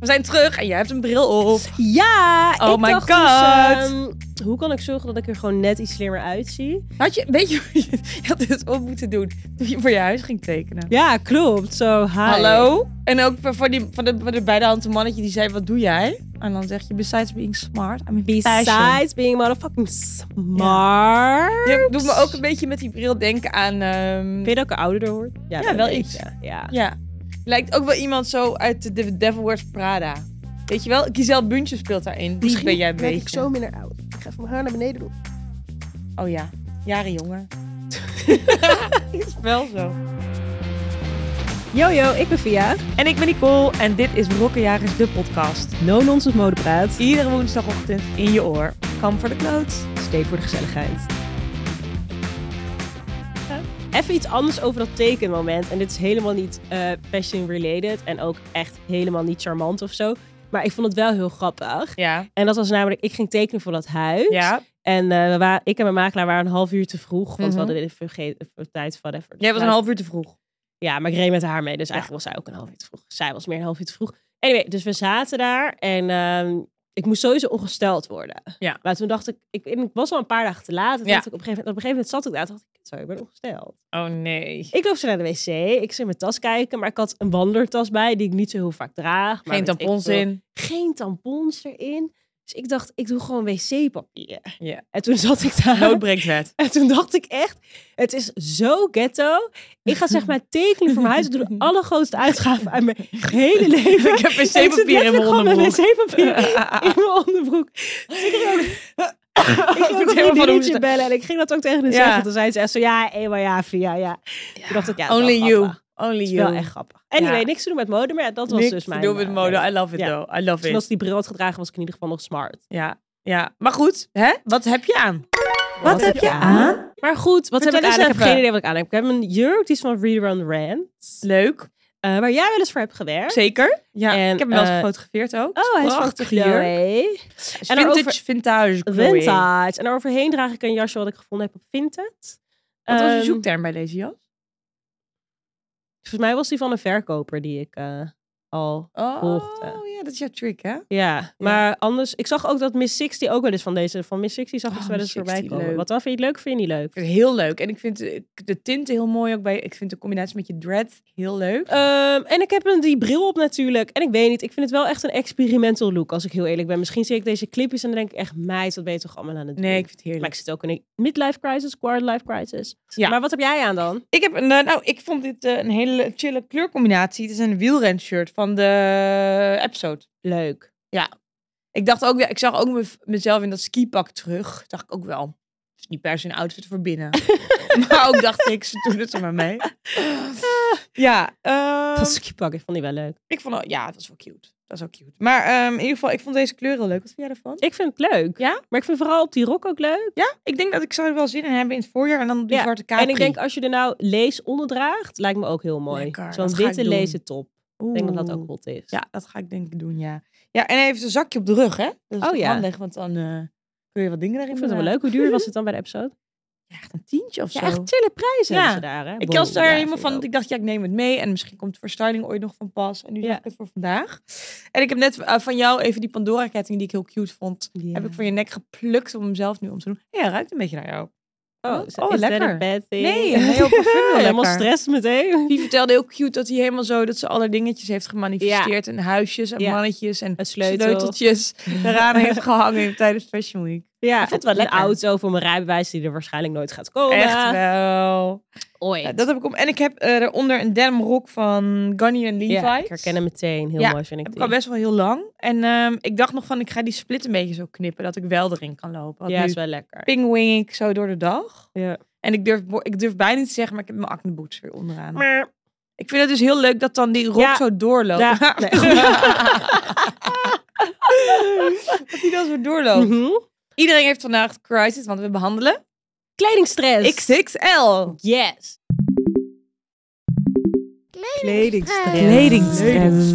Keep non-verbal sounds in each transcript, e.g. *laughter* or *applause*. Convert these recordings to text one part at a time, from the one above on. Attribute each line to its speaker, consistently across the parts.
Speaker 1: We zijn terug en jij hebt een bril op.
Speaker 2: Ja,
Speaker 1: Oh
Speaker 2: ik
Speaker 1: my
Speaker 2: dacht
Speaker 1: God.
Speaker 2: dus, ehm, hoe kan ik zorgen dat ik er gewoon net iets slimmer uitzie?
Speaker 1: Had je, weet je, hoe je je had dit op moeten doen toen je voor je huis ging tekenen.
Speaker 2: Ja, klopt. Zo, hi.
Speaker 1: Hallo? En ook voor- voor, die, voor, de, voor de beide handen mannetje die zei, wat doe jij? En dan zeg je, besides being smart, I'm in fashion.
Speaker 2: Besides being motherfucking smart.
Speaker 1: Je doet me ook een beetje met die bril denken aan... ehm,
Speaker 2: Vind je dat ik er ouder door word?
Speaker 1: Ja,
Speaker 2: dat
Speaker 1: wel
Speaker 2: weet
Speaker 1: iets.
Speaker 2: je. Ja.
Speaker 1: ja, lijkt ook wel iemand zo uit de The Devil Wears Prada. Weet je wel, Giselle Bündchen speelt daarin. Die ben jij een
Speaker 2: werd
Speaker 1: beetje.
Speaker 2: minder oud. Ik ga even mijn haar naar beneden doen.
Speaker 1: Oh ja, jaren *laughs* jonger. is wel zo.
Speaker 2: Yo, yo, ik ben Via.
Speaker 1: En ik ben Nicole en dit is Rokkenjagers, de podcast.
Speaker 2: No-nonsense modepraat.
Speaker 1: Iedere woensdagochtend in je oor. Kam voor de kloot.
Speaker 2: Steek voor de gezelligheid. Even iets anders over dat tekenmoment. En dit is helemaal niet eh, fashion related. En ook echt helemaal niet charmant of zo. Maar ik vond het wel heel grappig.
Speaker 1: Ja.
Speaker 2: En dat was namelijk, ik ging tekenen voor dat huis.
Speaker 1: Ja.
Speaker 2: En eh, we waren, ik en mijn makelaar waren een half uur te vroeg. Want
Speaker 1: Mhm.
Speaker 2: we hadden weer vergeten voor tijd van even.
Speaker 1: Jij was een
Speaker 2: Nou,
Speaker 1: half uur te vroeg.
Speaker 2: Ja, maar ik reed met haar mee. Dus eigenlijk was zij ook een half uur te vroeg. Zij was meer een half uur te vroeg. Anyway, dus we zaten daar. En ehm, ik moest sowieso ongesteld worden.
Speaker 1: Ja.
Speaker 2: Maar toen dacht ik, ik, en ik was al een paar dagen te laat. En toen
Speaker 1: Ja.
Speaker 2: dacht ik op, een gegeven moment, op een gegeven moment zat ik daar. en dacht ik, sorry, ik ben ongesteld.
Speaker 1: Oh nee.
Speaker 2: Ik loop zo naar de wc. Ik zit in mijn tas kijken. Maar ik had een wandeltas bij, die ik niet zo heel vaak draag. Maar
Speaker 1: Geen
Speaker 2: weet ik
Speaker 1: tampons
Speaker 2: veel
Speaker 1: in.
Speaker 2: geen tampons erin. Dus ik dacht, ik doe gewoon wc-papier.
Speaker 1: Ja. Nou,
Speaker 2: En toen zat ik daar.
Speaker 1: Noodbreekt wet. *laughs*
Speaker 2: En toen dacht ik echt, het is zo ghetto. Ik ga
Speaker 1: *laughs*
Speaker 2: zeg maar tekenen voor mijn huis. Ik doe de allergrootste uitgave uit mijn hele leven.
Speaker 1: Ik heb
Speaker 2: En ik zit
Speaker 1: wc-papier in
Speaker 2: letterlijk
Speaker 1: mijn
Speaker 2: gewoon met
Speaker 1: onderbroek. *laughs*
Speaker 2: wc-papier in mijn onderbroek. Dus ik ging ook- ik
Speaker 1: Oh, word
Speaker 2: ging ook een
Speaker 1: helemaal van
Speaker 2: vriendinnetje
Speaker 1: hoesten.
Speaker 2: bellen. En ik ging dat ook tegen haar
Speaker 1: Ja.
Speaker 2: zeggen. Toen zei ze echt zo, ja, Eva, ja, via, ja. Toen dacht ik, ja, het is wel
Speaker 1: Only you.
Speaker 2: grappig.
Speaker 1: Only
Speaker 2: Het is wel
Speaker 1: you.
Speaker 2: echt grappig. Anyway,
Speaker 1: Ja.
Speaker 2: niks te doen met mode, maar ja, dat was
Speaker 1: Niks
Speaker 2: dus
Speaker 1: te
Speaker 2: mijn...
Speaker 1: doen met
Speaker 2: eh,
Speaker 1: mode.
Speaker 2: ding.
Speaker 1: I love it
Speaker 2: Ja.
Speaker 1: though. I love
Speaker 2: Toen als
Speaker 1: it.
Speaker 2: ik die bril had gedragen, was ik in ieder geval nog smart.
Speaker 1: Ja. Ja. Maar goed, hè? Wat heb je aan?
Speaker 2: Wat, heb je aan? Maar goed, wat
Speaker 1: Vertel
Speaker 2: heb ik
Speaker 1: eens
Speaker 2: aan? Ik heb
Speaker 1: even.
Speaker 2: geen idee wat ik aan heb. Ik heb een jurk, die is van Rerun Rant.
Speaker 1: Leuk.
Speaker 2: Eh waar jij wel eens voor hebt gewerkt.
Speaker 1: Zeker. Ja.
Speaker 2: En,
Speaker 1: ik heb hem wel eens
Speaker 2: eh,
Speaker 1: gefotografeerd ook.
Speaker 2: Oh, hij is van
Speaker 1: Prachtige jurk.
Speaker 2: Chloe.
Speaker 1: En vintage,
Speaker 2: daarover-
Speaker 1: vintage, Chloe.
Speaker 2: Vintage. En daaroverheen draag ik een jasje wat ik gevonden heb op Vinted.
Speaker 1: Wat was je
Speaker 2: Ehm,
Speaker 1: zoekterm bij deze jas?
Speaker 2: Volgens mij was die van een verkoper die ik eh, al...
Speaker 1: Oh,
Speaker 2: hoogte.
Speaker 1: ja, dat is jouw trick, hè?
Speaker 2: Ja, maar anders... Ik zag ook dat Miss Sixty ook wel eens van deze... Van Miss Sixty zag ik
Speaker 1: Oh,
Speaker 2: ze wel eens
Speaker 1: Miss
Speaker 2: voorbij
Speaker 1: 60,
Speaker 2: komen.
Speaker 1: leuk.
Speaker 2: Wat dan? Vind je het leuk of vind je het niet leuk?
Speaker 1: Ik vind het heel leuk. En ik vind eh, de tinten heel mooi ook bij. Ik vind de combinatie met je dread heel leuk.
Speaker 2: Ehm, en ik heb een die bril op natuurlijk. En ik weet niet, ik vind het wel echt een experimental look, als ik heel eerlijk ben. Misschien zie ik deze clipjes en dan denk ik echt, meid, wat ben je toch allemaal aan het doen?
Speaker 1: Nee, ik vind het
Speaker 2: Maar
Speaker 1: heerlijk.
Speaker 2: ik zit ook in een midlife crisis, quarter life crisis.
Speaker 1: Ja.
Speaker 2: Maar wat heb jij aan dan?
Speaker 1: Ik heb een, eh, nou, ik vond dit eh, een hele chille kleurcombinatie. Het is een wielrenshirt van de episode.
Speaker 2: Leuk.
Speaker 1: Ik dacht ook, ja, ik zag ook mef- mezelf in dat skipak terug. Dacht ik ook wel. Het is niet per se een outfit voor *laughs* binnen. maar ook dacht ik, ze doen het er maar *laughs* mee. ja, ehm,
Speaker 2: Dat stukje pak, ik vond die wel leuk.
Speaker 1: ik vond, ja, dat was wel cute. Dat is ook cute. Maar ehm, in ieder geval, ik vond deze kleur heel leuk. Wat vind jij ervan?
Speaker 2: Ik vind het leuk.
Speaker 1: Ja?
Speaker 2: Maar ik vind vooral op die rok ook leuk.
Speaker 1: Ja, ik denk dat ik zou er wel zin in hebben in het voorjaar en dan op die
Speaker 2: Ja,
Speaker 1: zwarte kaart.
Speaker 2: En ik denk, als je er nou lees onder draagt, lijkt me ook heel mooi.
Speaker 1: Lekker,
Speaker 2: Zo'n
Speaker 1: dat ga ik
Speaker 2: witte
Speaker 1: doen.
Speaker 2: lezen top. Ik denk dat dat ook hot is.
Speaker 1: Ja, dat ga ik denk ik doen, ja. Ja, en even een zakje op de rug, hè? Dat is
Speaker 2: Oh,
Speaker 1: toch
Speaker 2: ja.
Speaker 1: handig, want dan eh, kun je wat dingen daarin
Speaker 2: Ik vind het wel
Speaker 1: bewaken.
Speaker 2: leuk. Hoe duur was het dan bij de episode?
Speaker 1: Ja, echt een tientje of
Speaker 2: Ja,
Speaker 1: zo.
Speaker 2: echt chille prijzen
Speaker 1: Ja.
Speaker 2: hebben ze daar. Hè?
Speaker 1: Ik
Speaker 2: Bon,
Speaker 1: was daar
Speaker 2: ja,
Speaker 1: helemaal
Speaker 2: vind
Speaker 1: van,
Speaker 2: ik
Speaker 1: dat ik dacht, ja, ik neem het mee. En misschien komt voor styling ooit nog van pas. En nu
Speaker 2: Ja.
Speaker 1: zag ik het voor vandaag. En ik heb net eh, van jou even die Pandora-ketting die ik heel cute vond,
Speaker 2: ook. Ja.
Speaker 1: heb ik van je nek geplukt om hem zelf nu om te doen. Ja, ruikt een beetje naar
Speaker 2: *laughs*
Speaker 1: jou.
Speaker 2: Oh,
Speaker 1: Oh,
Speaker 2: is-
Speaker 1: oh,
Speaker 2: is dat
Speaker 1: lekker.
Speaker 2: een bad thing? *laughs*
Speaker 1: Nee, een heel parfum wel
Speaker 2: Helemaal
Speaker 1: lekker.
Speaker 2: stress *laughs* meteen.
Speaker 1: Die vertelde heel cute dat hij helemaal zo, dat ze alle dingetjes heeft gemanifesteerd. En huisjes en
Speaker 2: Ja.
Speaker 1: mannetjes en
Speaker 2: Een sleutel. *laughs*
Speaker 1: sleuteltjes eraan heeft gehangen tijdens Fashion Week.
Speaker 2: Ja,
Speaker 1: Ik vond het wel
Speaker 2: een
Speaker 1: lekker.
Speaker 2: auto voor mijn rijbewijs die er waarschijnlijk nooit gaat komen.
Speaker 1: Echt wel.
Speaker 2: Ooit.
Speaker 1: Ja, dat heb ik om. En ik heb eh daaronder een denim rok van Gunny en Levi.
Speaker 2: Ja, ik herken hem meteen. Heel
Speaker 1: Ja,
Speaker 2: mooi vind
Speaker 1: Heb
Speaker 2: ik
Speaker 1: ik
Speaker 2: die.
Speaker 1: al best wel heel lang. En ehm, ik dacht nog van, ik ga die split een beetje zo knippen, dat ik wel erin kan lopen. Want
Speaker 2: Ja,
Speaker 1: nu
Speaker 2: is wel lekker.
Speaker 1: pingwing ik zo door de dag.
Speaker 2: Ja.
Speaker 1: En ik durf, bo- ik durf bijna niet te zeggen, maar ik heb mijn acne boots weer onderaan. Ik vind het dus heel leuk dat dan die rok
Speaker 2: Ja.
Speaker 1: zo doorloopt.
Speaker 2: Ja,
Speaker 1: *laughs*
Speaker 2: nee.
Speaker 1: dat die dan zo doorloopt.
Speaker 2: Mhm.
Speaker 1: Iedereen heeft vandaag crisis, want we behandelen
Speaker 2: Kledingstress.
Speaker 1: XXL.
Speaker 2: Yes. Kledingstress.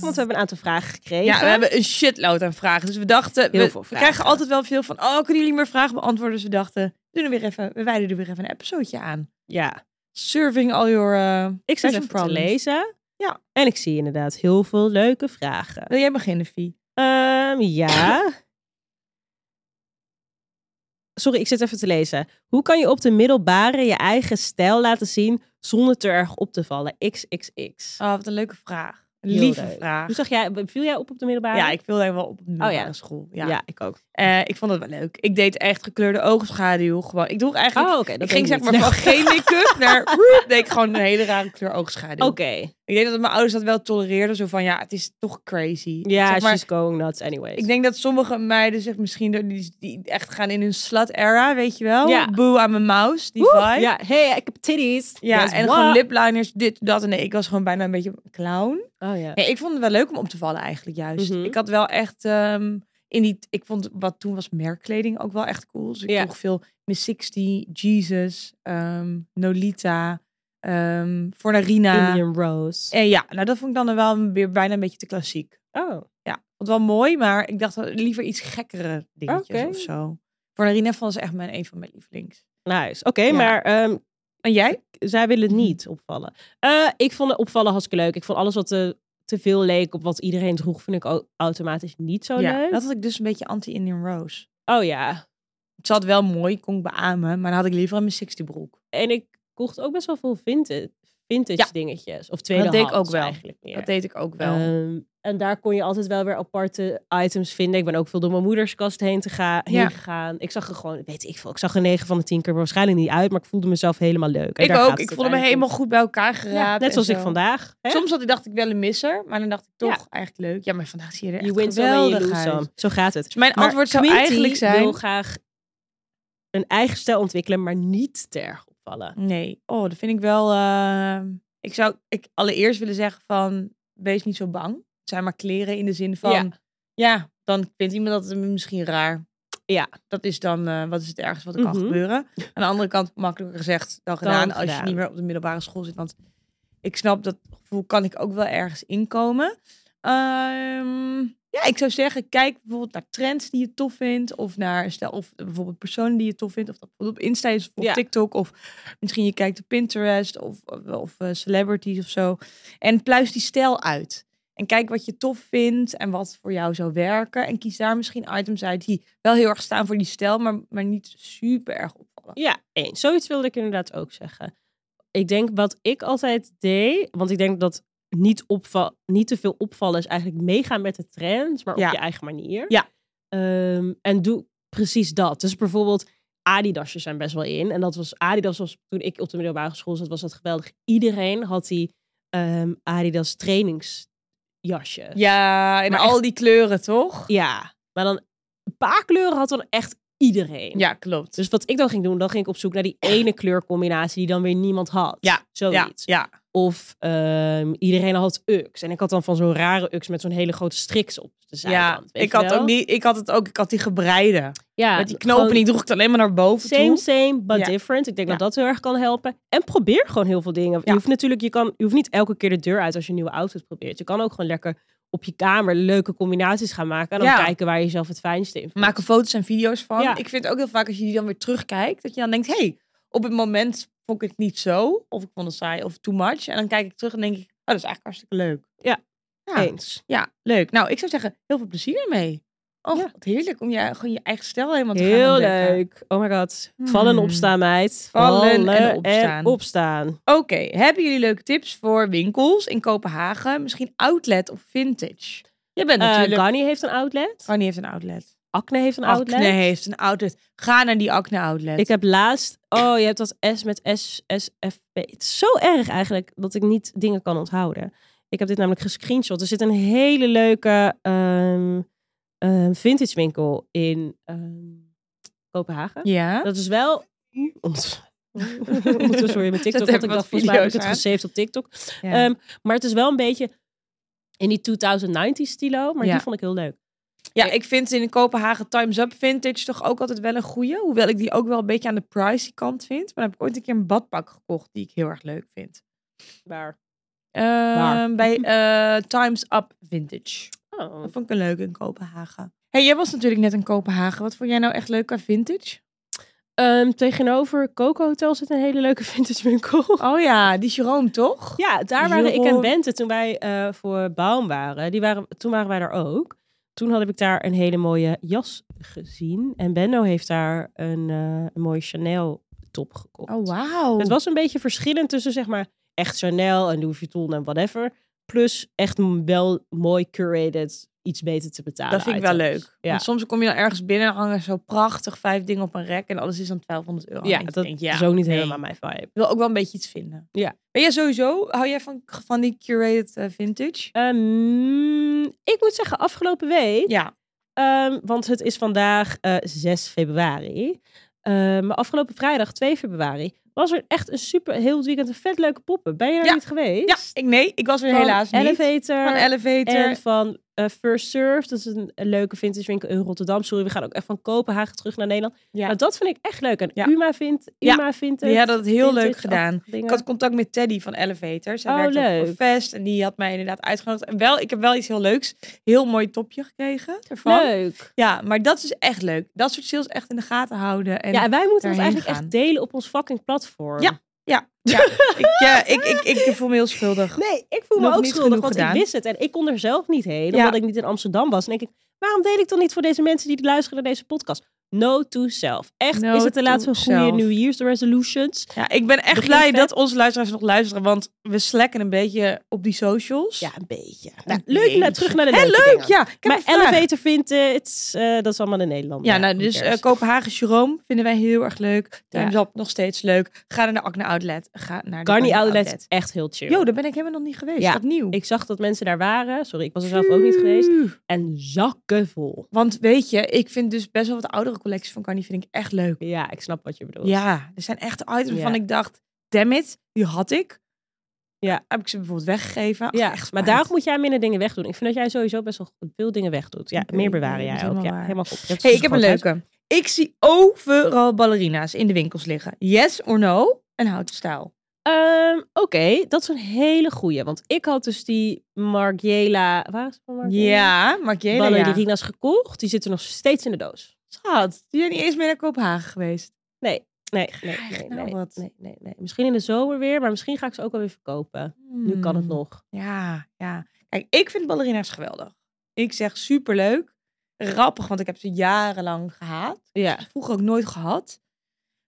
Speaker 2: Want we hebben een aantal vragen gekregen.
Speaker 1: Ja, we hebben een shitload aan vragen. Dus we dachten,
Speaker 2: Heel
Speaker 1: we,
Speaker 2: veel
Speaker 1: we
Speaker 2: vragen.
Speaker 1: krijgen altijd wel veel van, oh, kunnen jullie meer vragen beantwoorden? Dus we dachten, we, doen er weer even, we wijden er weer even een episodeje aan.
Speaker 2: Ja.
Speaker 1: Serving all your... eh,
Speaker 2: Ik zit
Speaker 1: Fashion
Speaker 2: even te
Speaker 1: problems.
Speaker 2: lezen.
Speaker 1: Ja.
Speaker 2: En ik zie inderdaad heel veel leuke vragen.
Speaker 1: Wil jij beginnen, Vie?
Speaker 2: Ehm,
Speaker 1: *coughs*
Speaker 2: ja. Sorry, ik zit even te lezen. Hoe kan je op de middelbare je eigen stijl laten zien zonder te erg op te vallen? XXX.
Speaker 1: Oh, wat een leuke vraag. Een
Speaker 2: Heel
Speaker 1: lieve
Speaker 2: leuk.
Speaker 1: vraag.
Speaker 2: Hoe zag jij, viel jij op op de middelbare?
Speaker 1: Ja, ik wilde wel op de middelbare
Speaker 2: ja.
Speaker 1: school. Ja.
Speaker 2: ja. ik ook.
Speaker 1: Eh, ik vond het wel leuk. Ik deed echt gekleurde oogschaduw. Gewoon. Ik droeg eigenlijk...
Speaker 2: Oh, oké.
Speaker 1: ik ging zeg maar
Speaker 2: *laughs*
Speaker 1: van geen make-up naar... woep, deed ik gewoon een hele rare kleur oogschaduw.
Speaker 2: Oké.
Speaker 1: Ik denk dat mijn ouders dat wel tolereerden. Zo van, ja, het is toch crazy.
Speaker 2: Ja,
Speaker 1: Zeg maar,
Speaker 2: she's going nuts anyways.
Speaker 1: ik denk dat sommige meiden zich misschien... door- Die, die echt gaan in hun slut-era, weet je wel?
Speaker 2: Ja.
Speaker 1: Boo aan mijn mouse, die
Speaker 2: Woe,
Speaker 1: vibe.
Speaker 2: Ja, hey, ik heb titties.
Speaker 1: Ja,
Speaker 2: Yes,
Speaker 1: en
Speaker 2: what?
Speaker 1: gewoon lipliners, dit, dat. En nee, ik was gewoon bijna een beetje een clown.
Speaker 2: Oh ja.
Speaker 1: Nee, ik vond het wel leuk om op te vallen eigenlijk juist.
Speaker 2: Mhm.
Speaker 1: Ik had wel echt ehm, in die... Ik vond wat toen was merkkleding ook wel echt cool. Dus ik
Speaker 2: Ja.
Speaker 1: droeg veel Miss 60, Jesus, ehm, Nolita, ehm Fornarina.
Speaker 2: Indian Rose.
Speaker 1: En ja, nou dat vond ik dan wel weer bijna een beetje te klassiek.
Speaker 2: Oh.
Speaker 1: Ja, wat wel mooi, maar ik dacht wel liever iets gekkere dingetjes
Speaker 2: Oké.
Speaker 1: of zo. Fornarina van is echt mijn, een van mijn lievelings.
Speaker 2: Nice. Oké,
Speaker 1: Ja. Mhm.
Speaker 2: maar ehm,
Speaker 1: En jij?
Speaker 2: zij willen het niet opvallen. Eh, ik vond het opvallen hartstikke leuk. Ik vond alles wat te, te veel leek op wat iedereen droeg, vind ik ook automatisch niet zo
Speaker 1: ja,
Speaker 2: leuk.
Speaker 1: dat had ik dus een beetje anti-Indian Rose.
Speaker 2: Oh ja.
Speaker 1: Ze had wel mooi, kon ik beamen, maar dan had ik liever een mijn 60 broek.
Speaker 2: En ik kocht ook best wel veel vintage, vintage
Speaker 1: Ja.
Speaker 2: dingetjes. Of tweedehands
Speaker 1: ik ook wel.
Speaker 2: eigenlijk meer.
Speaker 1: Dat deed ik ook wel.
Speaker 2: Ehm, en daar kon je altijd wel weer aparte items vinden. Ik ben ook veel door mijn moeders kast heen, te gaan, heen
Speaker 1: Ja.
Speaker 2: gegaan. Ik zag er gewoon, weet ik veel, ik zag er 9 van de 10 keer waarschijnlijk niet uit. Maar ik voelde mezelf helemaal leuk. En
Speaker 1: ik
Speaker 2: daar
Speaker 1: ook.
Speaker 2: gaat
Speaker 1: Ik
Speaker 2: het
Speaker 1: voelde me helemaal
Speaker 2: uiteindelijk
Speaker 1: goed bij elkaar
Speaker 2: om.
Speaker 1: geraapt.
Speaker 2: Ja, net
Speaker 1: en
Speaker 2: zoals ik
Speaker 1: zo.
Speaker 2: vandaag. Hè?
Speaker 1: Soms had ik, dacht ik wel een misser, maar dan dacht ik toch eigenlijk leuk. Ja, maar vandaag zie je er
Speaker 2: je
Speaker 1: echt
Speaker 2: wint some en je
Speaker 1: geweldig
Speaker 2: lose
Speaker 1: uit.
Speaker 2: some. Zo gaat het.
Speaker 1: Dus mijn
Speaker 2: Maar
Speaker 1: antwoord zou
Speaker 2: Quinty
Speaker 1: eigenlijk
Speaker 2: wil
Speaker 1: zijn...
Speaker 2: graag een eigen stijl ontwikkelen, maar niet te erg opvallen.
Speaker 1: Nee, oh, dat vind ik wel... eh, Ik zou ik allereerst willen zeggen van... Wees niet zo bang. Het zijn maar kleren in de zin van... Ja,
Speaker 2: Ja.
Speaker 1: dan vindt iemand dat misschien raar.
Speaker 2: Ja.
Speaker 1: Dat is dan eh, wat is het ergste wat er
Speaker 2: Mhm.
Speaker 1: kan gebeuren. Aan de andere kant, makkelijker gezegd dan gedaan. als
Speaker 2: gedaan.
Speaker 1: je niet meer op de middelbare school zit. Want ik snap dat gevoel kan ik ook wel ergens inkomen. Ehm, ja, ik zou zeggen, kijk bijvoorbeeld naar trends die je tof vindt. Of naar stel, of bijvoorbeeld personen die je tof vindt. Of dat bijvoorbeeld op Insta is of op
Speaker 2: Ja.
Speaker 1: TikTok. Of misschien je kijkt op Pinterest of, of eh, celebrities of zo. En pluis die stijl uit. En kijk wat je tof vindt en wat voor jou zou werken. En kies daar misschien items uit die wel heel erg staan voor die stijl, maar, maar niet super erg opvallen.
Speaker 2: Ja, één. Zoiets wilde ik inderdaad ook zeggen. Ik denk wat ik altijd deed, want ik denk dat niet, opval, niet te veel opvallen is eigenlijk meegaan met de trends, maar
Speaker 1: Ja.
Speaker 2: op je eigen manier.
Speaker 1: Ja.
Speaker 2: Ehm, en doe precies dat. Dus bijvoorbeeld Adidasjes zijn best wel in. En dat was Adidas was toen ik op de middelbare school zat, was dat geweldig. Iedereen had die ehm, Adidas trainingsjasjes.
Speaker 1: Ja, en
Speaker 2: Maar
Speaker 1: al die kleuren, toch?
Speaker 2: Ja, maar dan een paar kleuren had dan echt iedereen.
Speaker 1: Ja, klopt.
Speaker 2: Dus wat ik dan ging doen, dan ging ik op zoek naar die ene kleurcombinatie die dan weer niemand had.
Speaker 1: Ja, ja,
Speaker 2: Zoiets.
Speaker 1: ja.
Speaker 2: Of ehm, iedereen had UX. En ik had dan van zo'n rare UX met zo'n hele grote striks op de
Speaker 1: ja.
Speaker 2: zijkant. weet
Speaker 1: Ik
Speaker 2: je
Speaker 1: had,
Speaker 2: wel?
Speaker 1: ook niet, ik had het ook, ik had die gebreide.
Speaker 2: Ja,
Speaker 1: Met die knopen, die
Speaker 2: gewoon
Speaker 1: droeg ik het alleen maar naar boven
Speaker 2: Same,
Speaker 1: toe.
Speaker 2: same, but
Speaker 1: Ja.
Speaker 2: different. Ik denk
Speaker 1: Ja.
Speaker 2: dat dat heel erg kan helpen. En probeer gewoon heel veel dingen. Je
Speaker 1: Ja.
Speaker 2: hoeft natuurlijk, je, kan, je hoeft niet elke keer de deur uit als je een nieuwe outfit probeert. Je kan ook gewoon lekker op je kamer leuke combinaties gaan maken. En dan
Speaker 1: Ja.
Speaker 2: kijken waar je jezelf het fijnste in vindt.
Speaker 1: Maken foto's en video's van.
Speaker 2: Ja.
Speaker 1: Ik vind ook heel vaak als je die dan weer terugkijkt, dat je dan denkt, hey, op het moment vond ik het niet zo. Of ik vond het saai of too much. En dan kijk ik terug en denk ik, oh, dat is eigenlijk hartstikke leuk.
Speaker 2: Ja.
Speaker 1: Ja,
Speaker 2: Eens.
Speaker 1: ja leuk. Nou, ik zou zeggen, heel veel plezier ermee. Oh,
Speaker 2: Ja.
Speaker 1: wat heerlijk om je, gewoon je eigen stijl helemaal te gaan
Speaker 2: Heel
Speaker 1: ontdekken.
Speaker 2: leuk. Oh my god. Vallen en
Speaker 1: Hmm.
Speaker 2: opstaan, meid.
Speaker 1: Vallen en
Speaker 2: en
Speaker 1: opstaan.
Speaker 2: opstaan.
Speaker 1: Oké, hebben jullie leuke tips voor winkels in Kopenhagen? Misschien outlet of vintage? Je bent
Speaker 2: Eh,
Speaker 1: natuurlijk...
Speaker 2: Ganni heeft een outlet.
Speaker 1: Connie heeft een outlet.
Speaker 2: Acne heeft een outlet.
Speaker 1: Acne heeft een outlet. Ga naar die Acne outlet.
Speaker 2: Ik heb laatst... Oh, je hebt dat S met S, S, F, P. Het is zo erg eigenlijk dat ik niet dingen kan onthouden. Ik heb dit namelijk gescreenshot. Er zit een hele leuke ehm, ehm, vintage winkel in ehm, Kopenhagen.
Speaker 1: Ja?
Speaker 2: Dat is
Speaker 1: *laughs*
Speaker 2: wel... Ont- *laughs* Ondertussen hoor je mijn
Speaker 1: Zet even
Speaker 2: TikTok. Want ik
Speaker 1: wat
Speaker 2: dacht, volgens mij heb ik
Speaker 1: video's
Speaker 2: het
Speaker 1: aan.
Speaker 2: gesaved op TikTok.
Speaker 1: Ja.
Speaker 2: Ehm, maar het is wel een beetje in die 2090 stilo. Maar
Speaker 1: Ja.
Speaker 2: die vond ik heel leuk.
Speaker 1: ja, ik vind in Kopenhagen Times Up Vintage toch ook altijd wel een goeie. Hoewel ik die ook wel een beetje aan de pricey kant vind. Maar dan heb ik ooit een keer een badpak gekocht die ik heel erg leuk vind.
Speaker 2: Waar?
Speaker 1: Ehm,
Speaker 2: Waar?
Speaker 1: Bij eh, Times Up Vintage.
Speaker 2: Oh.
Speaker 1: Dat vond ik een leuk in Kopenhagen. hey, jij was natuurlijk net in Kopenhagen. Wat vond jij nou echt leuk qua vintage?
Speaker 2: Ehm, tegenover Coco Hotel zit een hele leuke *laughs* vintage winkel.
Speaker 1: Oh ja, die Jerome toch?
Speaker 2: Ja, daar waren ik en
Speaker 1: Jeroen.
Speaker 2: Bente toen wij eh, voor Baum waren. Die waren. Toen waren wij daar ook. Toen had ik daar een hele mooie jas gezien. En Benno heeft daar een, eh, een mooie Chanel top gekocht.
Speaker 1: Oh, wauw.
Speaker 2: Het was een beetje verschillend tussen zeg maar echt Chanel en Louis Vuitton en whatever. Plus echt m- wel mooi curated, iets beter te betalen.
Speaker 1: Dat vind ik wel
Speaker 2: items.
Speaker 1: leuk.
Speaker 2: Ja,
Speaker 1: Want soms kom je dan ergens binnen en hangen zo prachtig vijf dingen op een rek en alles is dan 1200 euro.
Speaker 2: ja
Speaker 1: En ik
Speaker 2: dat
Speaker 1: denk,
Speaker 2: is ook niet
Speaker 1: nee.
Speaker 2: helemaal mijn vibe.
Speaker 1: Ik wil ook wel een beetje iets vinden.
Speaker 2: Ja.
Speaker 1: Ben jij sowieso, hou jij van, van die curated eh, vintage?
Speaker 2: Ehm, ik moet zeggen, afgelopen week
Speaker 1: Ja.
Speaker 2: Ehm, want het is vandaag eh, 6 februari. Ehm, maar afgelopen vrijdag, 2 februari, was er echt een super, heel het weekend een vet leuke poppen. Ben je er
Speaker 1: Ja.
Speaker 2: niet geweest?
Speaker 1: Ja, ik, nee, ik was er
Speaker 2: Van
Speaker 1: helaas niet.
Speaker 2: Elevator.
Speaker 1: Van Elevator.
Speaker 2: En van eh, First Surf, dat is een, een leuke vintage winkel in Rotterdam. Sorry, we gaan ook echt van Kopenhagen terug naar Nederland.
Speaker 1: Ja.
Speaker 2: Maar dat vind ik echt leuk. En
Speaker 1: Ja.
Speaker 2: Uma vindt,
Speaker 1: Ja.
Speaker 2: Uma vindt het.
Speaker 1: Die hadden het heel leuk
Speaker 2: vintage
Speaker 1: gedaan.
Speaker 2: dingen.
Speaker 1: Ik had contact met Teddy van Elevator. Zij
Speaker 2: Oh,
Speaker 1: werkte op
Speaker 2: leuk.
Speaker 1: een fest en die had mij inderdaad uitgenodigd. En wel, ik heb wel iets heel leuks. Heel mooi topje gekregen ervan.
Speaker 2: Leuk.
Speaker 1: Ja, maar dat is echt leuk. Dat soort sales echt in de gaten houden. En
Speaker 2: Ja, en wij moeten ons
Speaker 1: daarheen
Speaker 2: eigenlijk
Speaker 1: gaan.
Speaker 2: echt delen op ons fucking platform.
Speaker 1: Ja. Ja, ik, ja, ik, ik, ik voel me heel schuldig.
Speaker 2: Nee, ik voel me
Speaker 1: Nog
Speaker 2: ook
Speaker 1: niet
Speaker 2: schuldig,
Speaker 1: genoeg
Speaker 2: want
Speaker 1: gedaan.
Speaker 2: ik wist het. En ik kon er zelf niet heen,
Speaker 1: Ja.
Speaker 2: omdat ik niet in Amsterdam was. En denk ik, waarom deed ik dan niet voor deze mensen die luisteren naar deze podcast? No to self. Echt,
Speaker 1: No
Speaker 2: is het de
Speaker 1: to
Speaker 2: laatste goede
Speaker 1: self.
Speaker 2: New Year's resolutions?
Speaker 1: Ja, ik ben echt
Speaker 2: Begin
Speaker 1: blij
Speaker 2: vet.
Speaker 1: dat onze luisteraars nog luisteren, want we slekken een beetje op die socials.
Speaker 2: Ja, een beetje.
Speaker 1: Nou,
Speaker 2: leuk,
Speaker 1: nee.
Speaker 2: naar terug naar de
Speaker 1: Hé,
Speaker 2: leuke
Speaker 1: leuk,
Speaker 2: dingen.
Speaker 1: ja. Ik heb
Speaker 2: Maar
Speaker 1: een vraag.
Speaker 2: Elevator vindt het, eh, dat is allemaal in Nederland.
Speaker 1: Ja, nou, dus eh, Kopenhagen Jerome vinden wij heel erg leuk. Time's Up nog steeds leuk. Ga naar de Acne Outlet. Ga naar de
Speaker 2: Garni Outlet is echt heel chill.
Speaker 1: Jo, daar ben ik helemaal nog niet geweest.
Speaker 2: Ja.
Speaker 1: Dat nieuw.
Speaker 2: Ik zag dat mensen daar waren. Sorry, ik was er zelf ook niet geweest. En zakken vol.
Speaker 1: Want weet je, ik vind dus best wel wat oudere collecties van Garni vind ik echt leuk.
Speaker 2: Ja, ik snap wat je bedoelt.
Speaker 1: Ja, er zijn echt items
Speaker 2: Ja.
Speaker 1: waarvan ik dacht, damn it, die had ik. Eh,
Speaker 2: Ja.
Speaker 1: Heb ik ze bijvoorbeeld weggegeven. Ach,
Speaker 2: Ja,
Speaker 1: echt
Speaker 2: maar
Speaker 1: spijt.
Speaker 2: daar moet jij minder dingen wegdoen. Ik vind dat jij sowieso best wel veel dingen wegdoet. Ja,
Speaker 1: Oké,
Speaker 2: meer
Speaker 1: nee,
Speaker 2: bewaren
Speaker 1: dat is
Speaker 2: jij ook.
Speaker 1: helemaal
Speaker 2: Ja,
Speaker 1: waar.
Speaker 2: helemaal goed. Dat is
Speaker 1: hey,
Speaker 2: dus
Speaker 1: ik heb een
Speaker 2: gewoon thuis.
Speaker 1: leuke. Ik zie overal ballerina's in de winkels liggen. Yes or no? En houten staal.
Speaker 2: Ehm, Oké, dat is een hele goeie. Want ik had dus die Margiela... Waar is het van Margiela?
Speaker 1: Ja, Margiela. ja.
Speaker 2: Ballerina's gekocht. Die zitten nog steeds in de doos.
Speaker 1: Schat, die zijn niet eens meer naar Kopenhagen geweest.
Speaker 2: Nee, nee,
Speaker 1: Krijg
Speaker 2: nee,
Speaker 1: nou
Speaker 2: nee,
Speaker 1: wat.
Speaker 2: nee, nee, nee. Misschien in de zomer weer, maar misschien ga ik ze ook alweer verkopen. Nu kan het
Speaker 1: Hmm.
Speaker 2: nog.
Speaker 1: Ja, ja. Kijk, ik vind ballerina's geweldig. Ik zeg superleuk. Rappig, want ik heb ze jarenlang gehaat.
Speaker 2: Ja.
Speaker 1: Vroeger ook nooit gehad.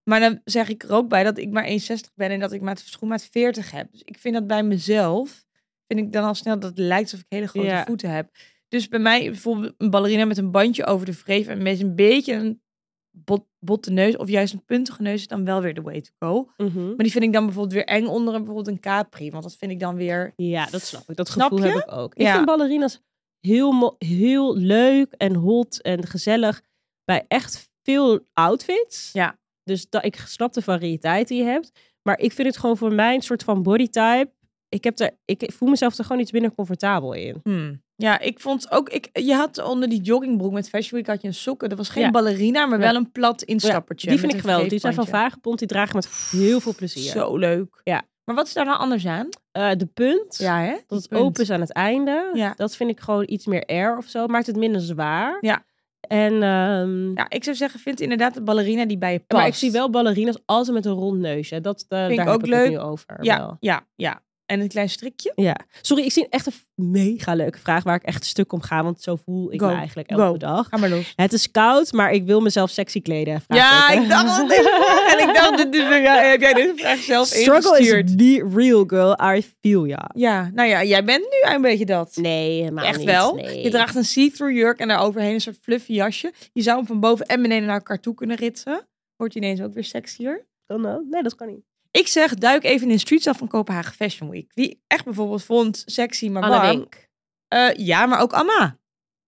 Speaker 1: Maar dan zeg ik er ook bij dat ik maar 1,60 ben en dat ik maar schoenmaat 40 heb. Dus ik vind dat bij mezelf, vind ik dan al snel dat het lijkt alsof ik hele grote
Speaker 2: Ja.
Speaker 1: voeten heb. Dus bij mij bijvoorbeeld een ballerina met een bandje over de wreef en met een beetje een bot, botte neus of juist een puntige neus is dan wel weer de way to go.
Speaker 2: Mhm.
Speaker 1: Maar die vind ik dan bijvoorbeeld weer eng onder een- bijvoorbeeld een capri, want dat vind ik dan weer
Speaker 2: Ja, dat snap ik. Dat
Speaker 1: Snap
Speaker 2: gevoel
Speaker 1: je?
Speaker 2: heb ik ook. Ik
Speaker 1: Ja.
Speaker 2: vind ballerina's heel, mo- heel leuk en hot en gezellig bij echt veel outfits.
Speaker 1: Ja.
Speaker 2: Dus dat, ik snap de variëteit die je hebt. Maar ik vind het gewoon voor mij een soort van bodytype. Ik, heb er, ik voel mezelf er gewoon iets minder comfortabel in.
Speaker 1: Hmm. Ja, ik vond ook. Ik, je had onder die joggingbroek met Fashion Week had je een sokken. Dat was geen
Speaker 2: Ja.
Speaker 1: ballerina, maar
Speaker 2: Ja.
Speaker 1: wel een plat instappertje.
Speaker 2: die
Speaker 1: met
Speaker 2: vind ik
Speaker 1: een
Speaker 2: geweldig. Die zijn van
Speaker 1: wreefbandje.
Speaker 2: Vagebond. Die dragen met heel veel plezier.
Speaker 1: Zo leuk.
Speaker 2: Ja.
Speaker 1: Maar wat is daar nou anders aan?
Speaker 2: Eh, de punt.
Speaker 1: hè?
Speaker 2: Dat het
Speaker 1: Punt.
Speaker 2: open is aan het einde.
Speaker 1: Ja.
Speaker 2: Dat vind ik gewoon iets meer air of zo. Maakt het minder zwaar.
Speaker 1: Ja.
Speaker 2: En ehm,
Speaker 1: Ja, ik zou zeggen, vind inderdaad de ballerina die bij je past.
Speaker 2: Maar ik zie wel ballerina's altijd met een rond neusje. Dat, eh,
Speaker 1: ik
Speaker 2: daar heb
Speaker 1: ook
Speaker 2: ik het nu
Speaker 1: leuk.
Speaker 2: over.
Speaker 1: Ja,
Speaker 2: wel.
Speaker 1: ja, ja. En een klein strikje.
Speaker 2: ja. Sorry, ik zie echt een f- mega leuke vraag waar ik echt stuk om ga. Want zo voel ik
Speaker 1: Go.
Speaker 2: me eigenlijk elke
Speaker 1: Go.
Speaker 2: dag.
Speaker 1: Ga maar los.
Speaker 2: Het is koud, maar ik wil mezelf sexy kleden.
Speaker 1: Ja,
Speaker 2: Vraagteken.
Speaker 1: ik dacht al deze vraag. En ik dacht, dit is, ja, heb jij deze vraag zelf
Speaker 2: Struggle
Speaker 1: ingestuurd?
Speaker 2: is the real girl. I feel ya.
Speaker 1: Ja, nou ja, jij bent nu een beetje dat.
Speaker 2: Nee, helemaal
Speaker 1: Echt
Speaker 2: Nou, niet.
Speaker 1: wel.
Speaker 2: Nee.
Speaker 1: Je draagt een see-through jurk en daar overheen een soort fluffy jasje. Je zou hem van boven en beneden naar elkaar toe kunnen ritsen. Wordt hij ineens ook weer sexier.
Speaker 2: Kan dat? Oh, Nee, dat kan niet.
Speaker 1: Ik zeg, duik even in Streets af van Kopenhagen Fashion Week. Die ik echt bijvoorbeeld vond sexy, maar
Speaker 2: Anne
Speaker 1: warm.
Speaker 2: Wink.
Speaker 1: Eh, ja, maar ook Amma.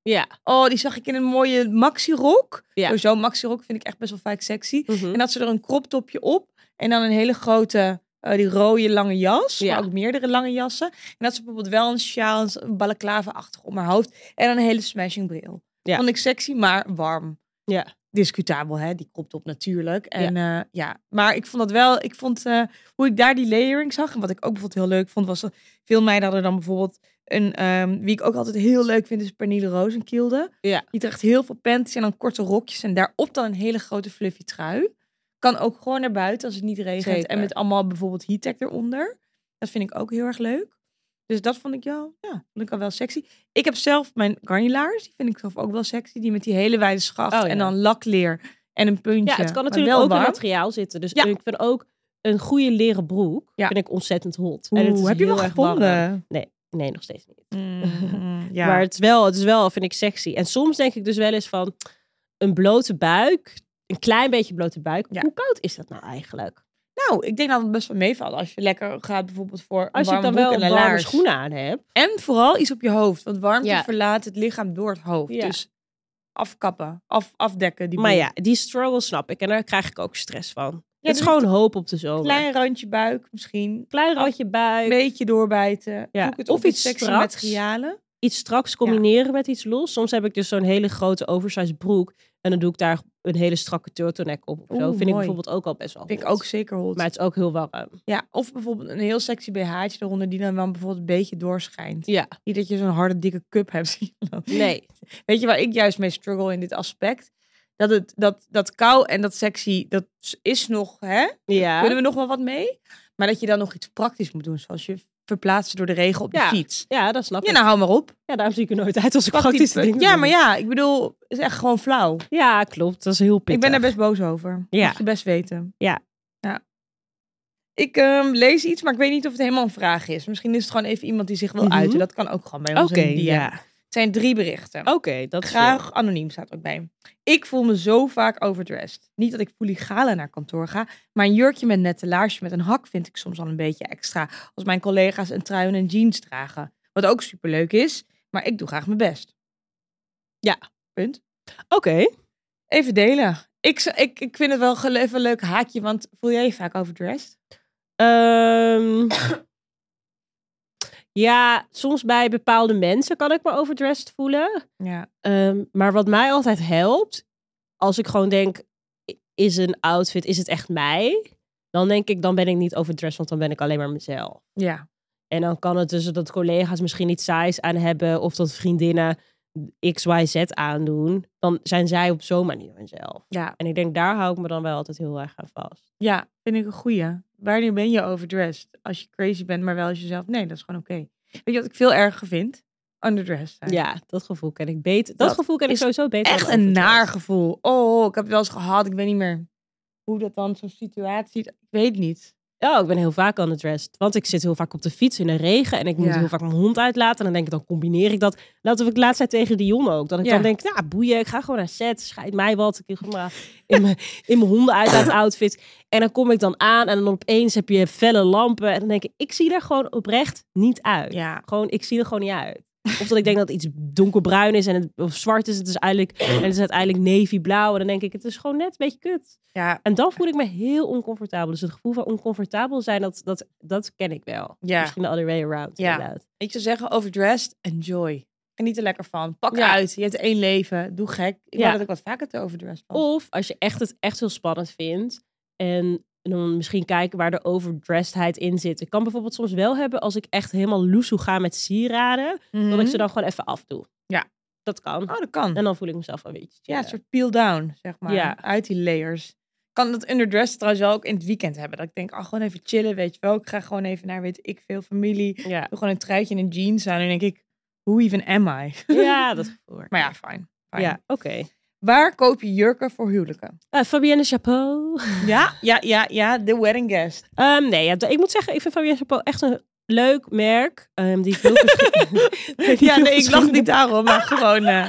Speaker 2: Ja.
Speaker 1: Oh, die zag ik in een mooie maxi-rok.
Speaker 2: Ja.
Speaker 1: Ja. Zo'n maxi-rok vind ik echt best wel vaak sexy.
Speaker 2: Mhm.
Speaker 1: En had ze er een crop topje op. En dan een hele grote, eh, die rode lange jas.
Speaker 2: Ja.
Speaker 1: Maar ook meerdere lange jassen. En dat ze bijvoorbeeld wel een sjaal, een balaclava-achtig om haar hoofd. En een hele smashing bril.
Speaker 2: Ja.
Speaker 1: Vond ik sexy, maar warm.
Speaker 2: Ja.
Speaker 1: Discutabel, hè? Die crop top natuurlijk. En ja. ja, maar ik vond dat wel... Ik vond eh, hoe ik daar die layering zag... En wat ik ook bijvoorbeeld heel leuk vond, was... dat Veel meiden hadden dan bijvoorbeeld een... ehm, wie ik ook altijd heel leuk vind, is Pernille Rozenkielde.
Speaker 2: Ja.
Speaker 1: Die draagt heel veel panties en dan korte rokjes. En daarop dan een hele grote fluffy trui Kan ook gewoon naar buiten als het niet regent.
Speaker 2: Zeker.
Speaker 1: En met allemaal bijvoorbeeld heattech eronder. Dat vind ik ook heel erg leuk. Dus dat vond ik, wel, ja, vond ik al wel sexy. Ik heb zelf mijn garnilaars. Die vind ik zelf ook wel sexy. Die met die hele wijde schaft.
Speaker 2: Oh, ja.
Speaker 1: En dan lakleer en een puntje.
Speaker 2: Ja, het kan
Speaker 1: maar
Speaker 2: natuurlijk
Speaker 1: wel
Speaker 2: ook in
Speaker 1: warm.
Speaker 2: materiaal zitten. Dus
Speaker 1: Ja.
Speaker 2: ik vind ook een goede leren broek
Speaker 1: Ja.
Speaker 2: vind ik ontzettend hot. en het is
Speaker 1: Oeh, heb je
Speaker 2: heel
Speaker 1: hem al
Speaker 2: erg warm.
Speaker 1: gevonden?
Speaker 2: Nee, nog steeds niet.
Speaker 1: *laughs* Mm, ja.
Speaker 2: Maar het is, wel, het is wel, vind ik, sexy. En soms denk ik dus wel eens van een blote buik, een klein beetje blote buik.
Speaker 1: Ja.
Speaker 2: Hoe koud is dat nou eigenlijk?
Speaker 1: Nou, ik denk dat het best wel meevalt als je lekker gaat bijvoorbeeld voor een
Speaker 2: Als je
Speaker 1: warme
Speaker 2: dan wel
Speaker 1: broek en
Speaker 2: een
Speaker 1: een
Speaker 2: warme
Speaker 1: laars.
Speaker 2: schoenen aan hebt.
Speaker 1: En vooral iets op je hoofd. Want warmte
Speaker 2: Ja.
Speaker 1: verlaat het lichaam door het hoofd.
Speaker 2: Ja.
Speaker 1: Dus afkappen, af, afdekken. Die
Speaker 2: Maar
Speaker 1: boel.
Speaker 2: ja, die struggle snap ik. En daar krijg ik ook stress van. het is
Speaker 1: dus
Speaker 2: gewoon hoop op de zomer.
Speaker 1: een klein randje buik misschien.
Speaker 2: klein randje
Speaker 1: Een
Speaker 2: buik.
Speaker 1: beetje doorbijten.
Speaker 2: Ja.
Speaker 1: Zoek het
Speaker 2: Of
Speaker 1: op met
Speaker 2: iets
Speaker 1: sexy
Speaker 2: straks.
Speaker 1: materialen.
Speaker 2: iets straks combineren met iets los. Soms heb ik dus zo'n hele grote oversized broek. En dan doe ik daar een hele strakke turtleneck op. Of zo.
Speaker 1: Oeh,
Speaker 2: Vind ik
Speaker 1: mooi.
Speaker 2: bijvoorbeeld ook al best wel
Speaker 1: Vind ik
Speaker 2: hot.
Speaker 1: ook zeker hot.
Speaker 2: Maar het is ook heel warm.
Speaker 1: Ja, of bijvoorbeeld een heel sexy BH'tje eronder die dan wel bijvoorbeeld een beetje doorschijnt.
Speaker 2: Ja.
Speaker 1: Niet dat je zo'n harde dikke cup hebt *laughs* zien lopen.
Speaker 2: Nee.
Speaker 1: Weet je waar ik juist mee struggle in dit aspect? Dat, het, dat, dat kou en dat sexy, dat is nog, hè?
Speaker 2: Ja.
Speaker 1: Kunnen we nog wel wat mee? Maar dat je dan nog iets praktisch moet doen. Zoals je verplaatsen door de regen op de
Speaker 2: Ja.
Speaker 1: fiets.
Speaker 2: Ja, dat snap
Speaker 1: Ja,
Speaker 2: ik.
Speaker 1: nou hou maar op.
Speaker 2: Ja, daarom zie ik er nooit uit als ik
Speaker 1: Pak die
Speaker 2: praktische
Speaker 1: pu-
Speaker 2: dingen
Speaker 1: Ja,
Speaker 2: doe.
Speaker 1: maar ja, ik bedoel, het is echt gewoon flauw.
Speaker 2: Ja, klopt. Dat is heel pittig.
Speaker 1: Ik ben daar best boos over.
Speaker 2: Ja.
Speaker 1: Moet je best weten.
Speaker 2: Ja.
Speaker 1: ja. Ik ehm, lees iets, maar ik weet niet of het helemaal een vraag is. Misschien is het gewoon even iemand die zich wil
Speaker 2: Mhm.
Speaker 1: uiten. Dat kan ook gewoon bij ons.
Speaker 2: Oké,
Speaker 1: Oké.
Speaker 2: ja.
Speaker 1: Het zijn drie berichten.
Speaker 2: Oké, dat is
Speaker 1: Graag
Speaker 2: veel.
Speaker 1: anoniem staat ook bij. Ik voel me zo vaak overdressed. Niet dat ik fouligale naar kantoor ga, maar een jurkje met nette laarsje met een hak vind ik soms al een beetje extra. Als mijn collega's een trui en een jeans dragen. Wat ook superleuk is, maar ik doe graag mijn best. Ja, punt.
Speaker 2: Oké.
Speaker 1: Even delen. Ik, z- ik, ik vind het wel gel- even een leuk haakje, want voel jij je vaak overdressed? *coughs*
Speaker 2: Ehm, ja, soms bij bepaalde mensen kan ik me overdressed voelen.
Speaker 1: Ja.
Speaker 2: Ehm, maar wat mij altijd helpt, als ik gewoon denk, i- is een outfit, is het echt mij? Dan denk ik, dan ben ik niet overdressed, want dan ben ik alleen maar mezelf.
Speaker 1: Ja.
Speaker 2: En dan kan het dus dat collega's misschien iets saais aan hebben of dat vriendinnen XYZ aandoen. Dan zijn zij op zo'n manier mezelf.
Speaker 1: Ja.
Speaker 2: En ik denk, daar hou ik me dan wel altijd heel erg aan vast.
Speaker 1: Ja, vind ik een goeie. Wanneer ben je overdressed? Als je crazy bent, maar wel als jezelf. Nee, dat is gewoon oké. Weet je wat ik veel erger vind? Underdressed zijn.
Speaker 2: Ja, dat gevoel ken ik beter. Dat,
Speaker 1: Dat
Speaker 2: gevoel ken ik
Speaker 1: is
Speaker 2: sowieso beter.
Speaker 1: Echt
Speaker 2: dan
Speaker 1: een
Speaker 2: overdressed.
Speaker 1: naar gevoel. Oh, ik heb het wel eens gehad. Ik weet niet meer hoe dat dan zo'n situatie... Ik weet niet.
Speaker 2: Ja, Oh, ik ben heel vaak underdressed. Want ik zit heel vaak op de fiets in de regen. En ik moet
Speaker 1: Ja.
Speaker 2: heel vaak mijn hond uitlaten. En dan denk ik, dan combineer ik dat. Dat heb ik laatst zei tegen Dion ook. Dat ik
Speaker 1: Ja.
Speaker 2: dan denk, nou boeien, ik ga gewoon naar set. Scheid mij wat. Ik ga maar in mijn, in mijn hondenuitlaat outfit. En dan kom ik dan aan. En dan opeens heb je felle lampen. En dan denk ik, ik zie er gewoon oprecht niet uit.
Speaker 1: Ja.
Speaker 2: Gewoon, ik zie er gewoon niet uit. Of dat ik denk dat iets donkerbruin is en het, of zwart is. Het is eigenlijk, en het is uiteindelijk navy blauw. En dan denk ik, het is gewoon net een beetje kut.
Speaker 1: Ja.
Speaker 2: En dan voel ik me heel oncomfortabel. Dus het gevoel van oncomfortabel zijn, dat, dat, dat ken ik wel.
Speaker 1: Ja.
Speaker 2: Misschien de other way around,
Speaker 1: Ja.
Speaker 2: inderdaad.
Speaker 1: Ik zou zeggen, overdressed, enjoy. Geniet er lekker van. Pak
Speaker 2: Ja.
Speaker 1: uit. Je hebt één leven. Doe gek. Ik
Speaker 2: Ja.
Speaker 1: wou dat ik wat vaker te overdressed was.
Speaker 2: Of als je echt het echt heel spannend vindt en dan misschien kijken waar de overdressedheid in zit. Ik kan bijvoorbeeld soms wel hebben als ik echt helemaal loesoe ga met sieraden, dat ik ze dan gewoon even afdoe.
Speaker 1: Ja.
Speaker 2: Dat kan.
Speaker 1: Mhm. Oh, dat kan.
Speaker 2: En dan voel ik mezelf een beetje.
Speaker 1: Ja, een
Speaker 2: chiller.
Speaker 1: soort peel down, zeg maar.
Speaker 2: Ja.
Speaker 1: Uit die layers. Kan dat underdressed trouwens wel ook in het weekend hebben. Dat ik denk, ah, gewoon even chillen, weet je wel. Ik ga gewoon even naar, weet ik veel, familie. *laughs*
Speaker 2: ja.
Speaker 1: Doe gewoon een truitje en een jeans aan. En dan denk ik, who even am I? *laughs*
Speaker 2: ja, dat gevoel.
Speaker 1: Maar ja, fijn. fijn.
Speaker 2: Ja, oké.
Speaker 1: Waar koop je jurken voor huwelijken?
Speaker 2: Eh, Fabienne Chapeau.
Speaker 1: Ja, ja, ja, ja. De wedding guest.
Speaker 2: Ehm, nee, ja, d- ik moet zeggen, ik vind Fabienne Chapeau echt een leuk merk. ehm, die veel verschillende...
Speaker 1: *laughs* Ja, nee, ik lach niet daarom, maar gewoon...
Speaker 2: *laughs*
Speaker 1: eh,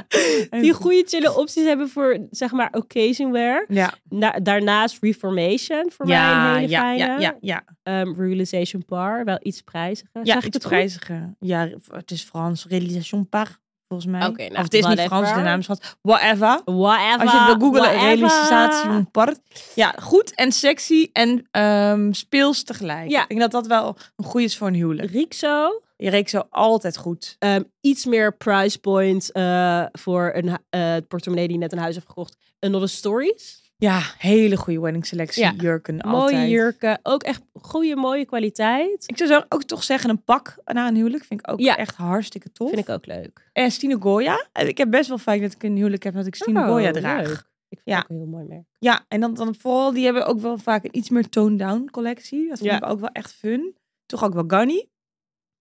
Speaker 2: Die goede chille opties hebben voor, zeg maar, occasion wear.
Speaker 1: Ja,
Speaker 2: Na- daarnaast Reformation voor mij
Speaker 1: ja,
Speaker 2: een hele
Speaker 1: ja,
Speaker 2: fijne.
Speaker 1: ja, ja, ja.
Speaker 2: Ehm, Realization Bar, wel iets prijziger.
Speaker 1: Ja,
Speaker 2: Zeg ik
Speaker 1: iets
Speaker 2: het goed?
Speaker 1: prijziger. Ja, het is Frans. Realisation par, volgens mij.
Speaker 2: Oké, nou,
Speaker 1: of het is niet
Speaker 2: whatever.
Speaker 1: Frans, de naam is Frans. Whatever.
Speaker 2: Whatever.
Speaker 1: Als je het wil googlen,
Speaker 2: whatever.
Speaker 1: realisatie part. Ja, goed en sexy en ehm, speels tegelijk.
Speaker 2: Ja.
Speaker 1: Ik denk dat dat wel een goede is voor een huwelijk.
Speaker 2: Rixo.
Speaker 1: Je reekt zo altijd goed.
Speaker 2: Ehm, iets meer price point eh, voor een hu- eh, portemonnee die net een huis heeft gekocht. Another Stories.
Speaker 1: Ja, hele goede wedding selectie.
Speaker 2: Ja.
Speaker 1: Jurken altijd.
Speaker 2: Mooie jurken. Ook echt goede, mooie kwaliteit.
Speaker 1: Ik zou zo ook toch zeggen, een pak na een huwelijk vind ik ook
Speaker 2: Ja.
Speaker 1: echt hartstikke tof.
Speaker 2: Vind ik ook leuk.
Speaker 1: Eh, En Stine Goya. Ik heb best wel vaak dat ik een huwelijk heb dat ik Stine
Speaker 2: Oh,
Speaker 1: Goya draag.
Speaker 2: leuk. Ik Ik
Speaker 1: Ja.
Speaker 2: vind het ook een heel mooi merk.
Speaker 1: Ja, en dan, dan vooral, die hebben ook wel vaak een iets meer toned-down collectie. Dat vind
Speaker 2: Ja.
Speaker 1: ik ook wel echt fun. Toch ook wel Gunny.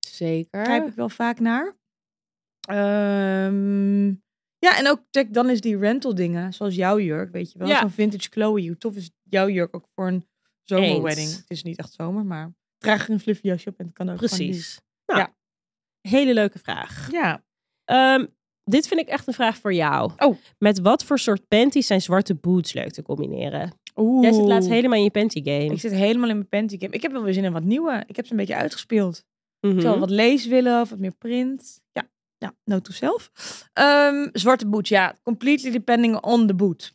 Speaker 2: Zeker.
Speaker 1: Daar heb ik wel vaak naar. Ehm, ja, en ook check dan is die rental dingen, zoals jouw jurk, weet je wel.
Speaker 2: Ja.
Speaker 1: Zo'n vintage Chloe, hoe tof is jouw jurk ook voor een zomerwedding. Het is niet echt zomer, maar draag er een fluffy jasje op en het kan ook gewoon
Speaker 2: Precies. Nou,
Speaker 1: Ja.
Speaker 2: Hele leuke vraag.
Speaker 1: nu. Ja,
Speaker 2: Ehm, dit vind ik echt een vraag voor jou.
Speaker 1: Oh.
Speaker 2: Met wat voor soort panties zijn zwarte boots leuk te combineren?
Speaker 1: Oeh.
Speaker 2: Jij zit laatst helemaal in je panty game.
Speaker 1: Ik zit helemaal in mijn panty game. Ik heb wel weer zin in wat nieuwe. Ik heb ze een beetje uitgespeeld.
Speaker 2: Mhm.
Speaker 1: Ik zou wel wat lees willen of wat meer print. Ja, ja no to self. Ehm, zwarte boot, ja. Completely depending on the boot.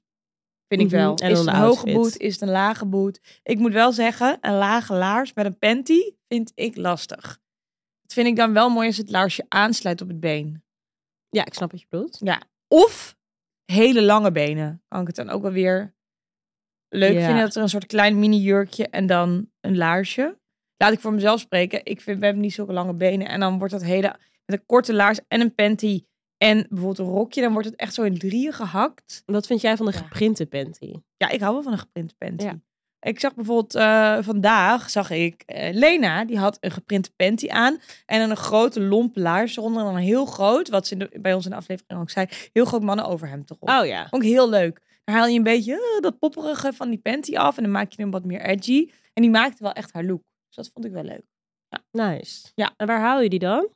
Speaker 1: Vind ik
Speaker 2: Mhm,
Speaker 1: wel.
Speaker 2: en
Speaker 1: is
Speaker 2: on
Speaker 1: het
Speaker 2: the
Speaker 1: een hoge
Speaker 2: outfit.
Speaker 1: boot? Is het een lage boot? Ik moet wel zeggen, een lage laars met een panty vind ik lastig. Dat vind ik dan wel mooi als het laarsje aansluit op het been.
Speaker 2: Ja, ik snap wat je bedoelt.
Speaker 1: Of hele lange benen. Kan ik het dan ook wel weer leuk
Speaker 2: Ja.
Speaker 1: vinden dat er een soort klein mini jurkje en dan een laarsje. Laat ik voor mezelf spreken. Ik vind, we hebben niet zulke lange benen. En dan wordt dat hele, met een korte laars en een panty en bijvoorbeeld een rokje, dan wordt het echt zo in drieën gehakt.
Speaker 2: Wat vind jij van de
Speaker 1: Ja.
Speaker 2: geprinte panty?
Speaker 1: Ja, ik hou wel van een geprinte panty.
Speaker 2: Ja.
Speaker 1: Ik zag bijvoorbeeld eh, vandaag, zag ik eh, Lena, die had een geprinte panty aan. En dan een grote lompe laars eronder. En dan een heel groot, wat ze in de- bij ons in de aflevering ook zei, heel groot mannen overhemd toch
Speaker 2: Oh ja.
Speaker 1: Vond ik heel leuk. Dan haal je een beetje eh, dat popperige van die panty af. En dan maak je hem wat meer edgy. En die maakte wel echt haar look. Dus dat vond ik wel leuk.
Speaker 2: Nice.
Speaker 1: Ja.
Speaker 2: En waar haal je die dan?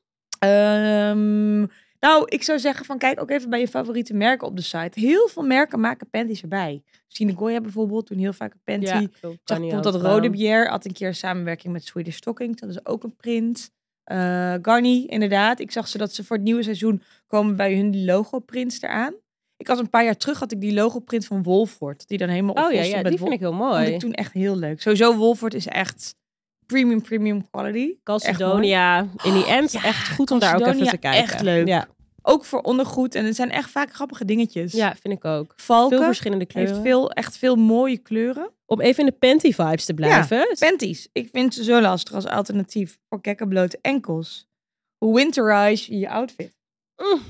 Speaker 1: Ehm, nou, ik zou zeggen van kijk ook even bij je favoriete merken op de site. Heel veel merken maken panties erbij. Sinagoya bijvoorbeeld doen heel vaak een panty.
Speaker 2: Ja,
Speaker 1: Ik zag bijvoorbeeld dat Rode Bier had een keer een samenwerking met Swedish Stockings. Dat is ook een print. Eh Garni, inderdaad. Ik zag ze dat ze voor het nieuwe seizoen komen bij hun die logo-prints eraan. Ik had een paar jaar terug had ik die logo-print van Wolford. Die dan helemaal
Speaker 2: Oh
Speaker 1: opvol
Speaker 2: ja,
Speaker 1: stond
Speaker 2: ja
Speaker 1: met
Speaker 2: die
Speaker 1: wol-
Speaker 2: vind ik heel
Speaker 1: Vond
Speaker 2: mooi.
Speaker 1: ik toen echt heel leuk. Sowieso, Wolford is echt premium, premium quality.
Speaker 2: Calcedonia in die end.
Speaker 1: Ja,
Speaker 2: echt goed om daar ook even te
Speaker 1: Calcedonia,
Speaker 2: kijken.
Speaker 1: echt leuk.
Speaker 2: Ja,
Speaker 1: Ook voor ondergoed. En het zijn echt vaak grappige dingetjes.
Speaker 2: ja vind ik ook.
Speaker 1: Valken
Speaker 2: Veel verschillende kleuren.
Speaker 1: heeft veel, echt veel mooie kleuren.
Speaker 2: Om even in de panty vibes te blijven.
Speaker 1: Panties. Ik vind ze zo lastig als alternatief voor gekke blote enkels. Hoe winterize je je outfit?
Speaker 2: Mm.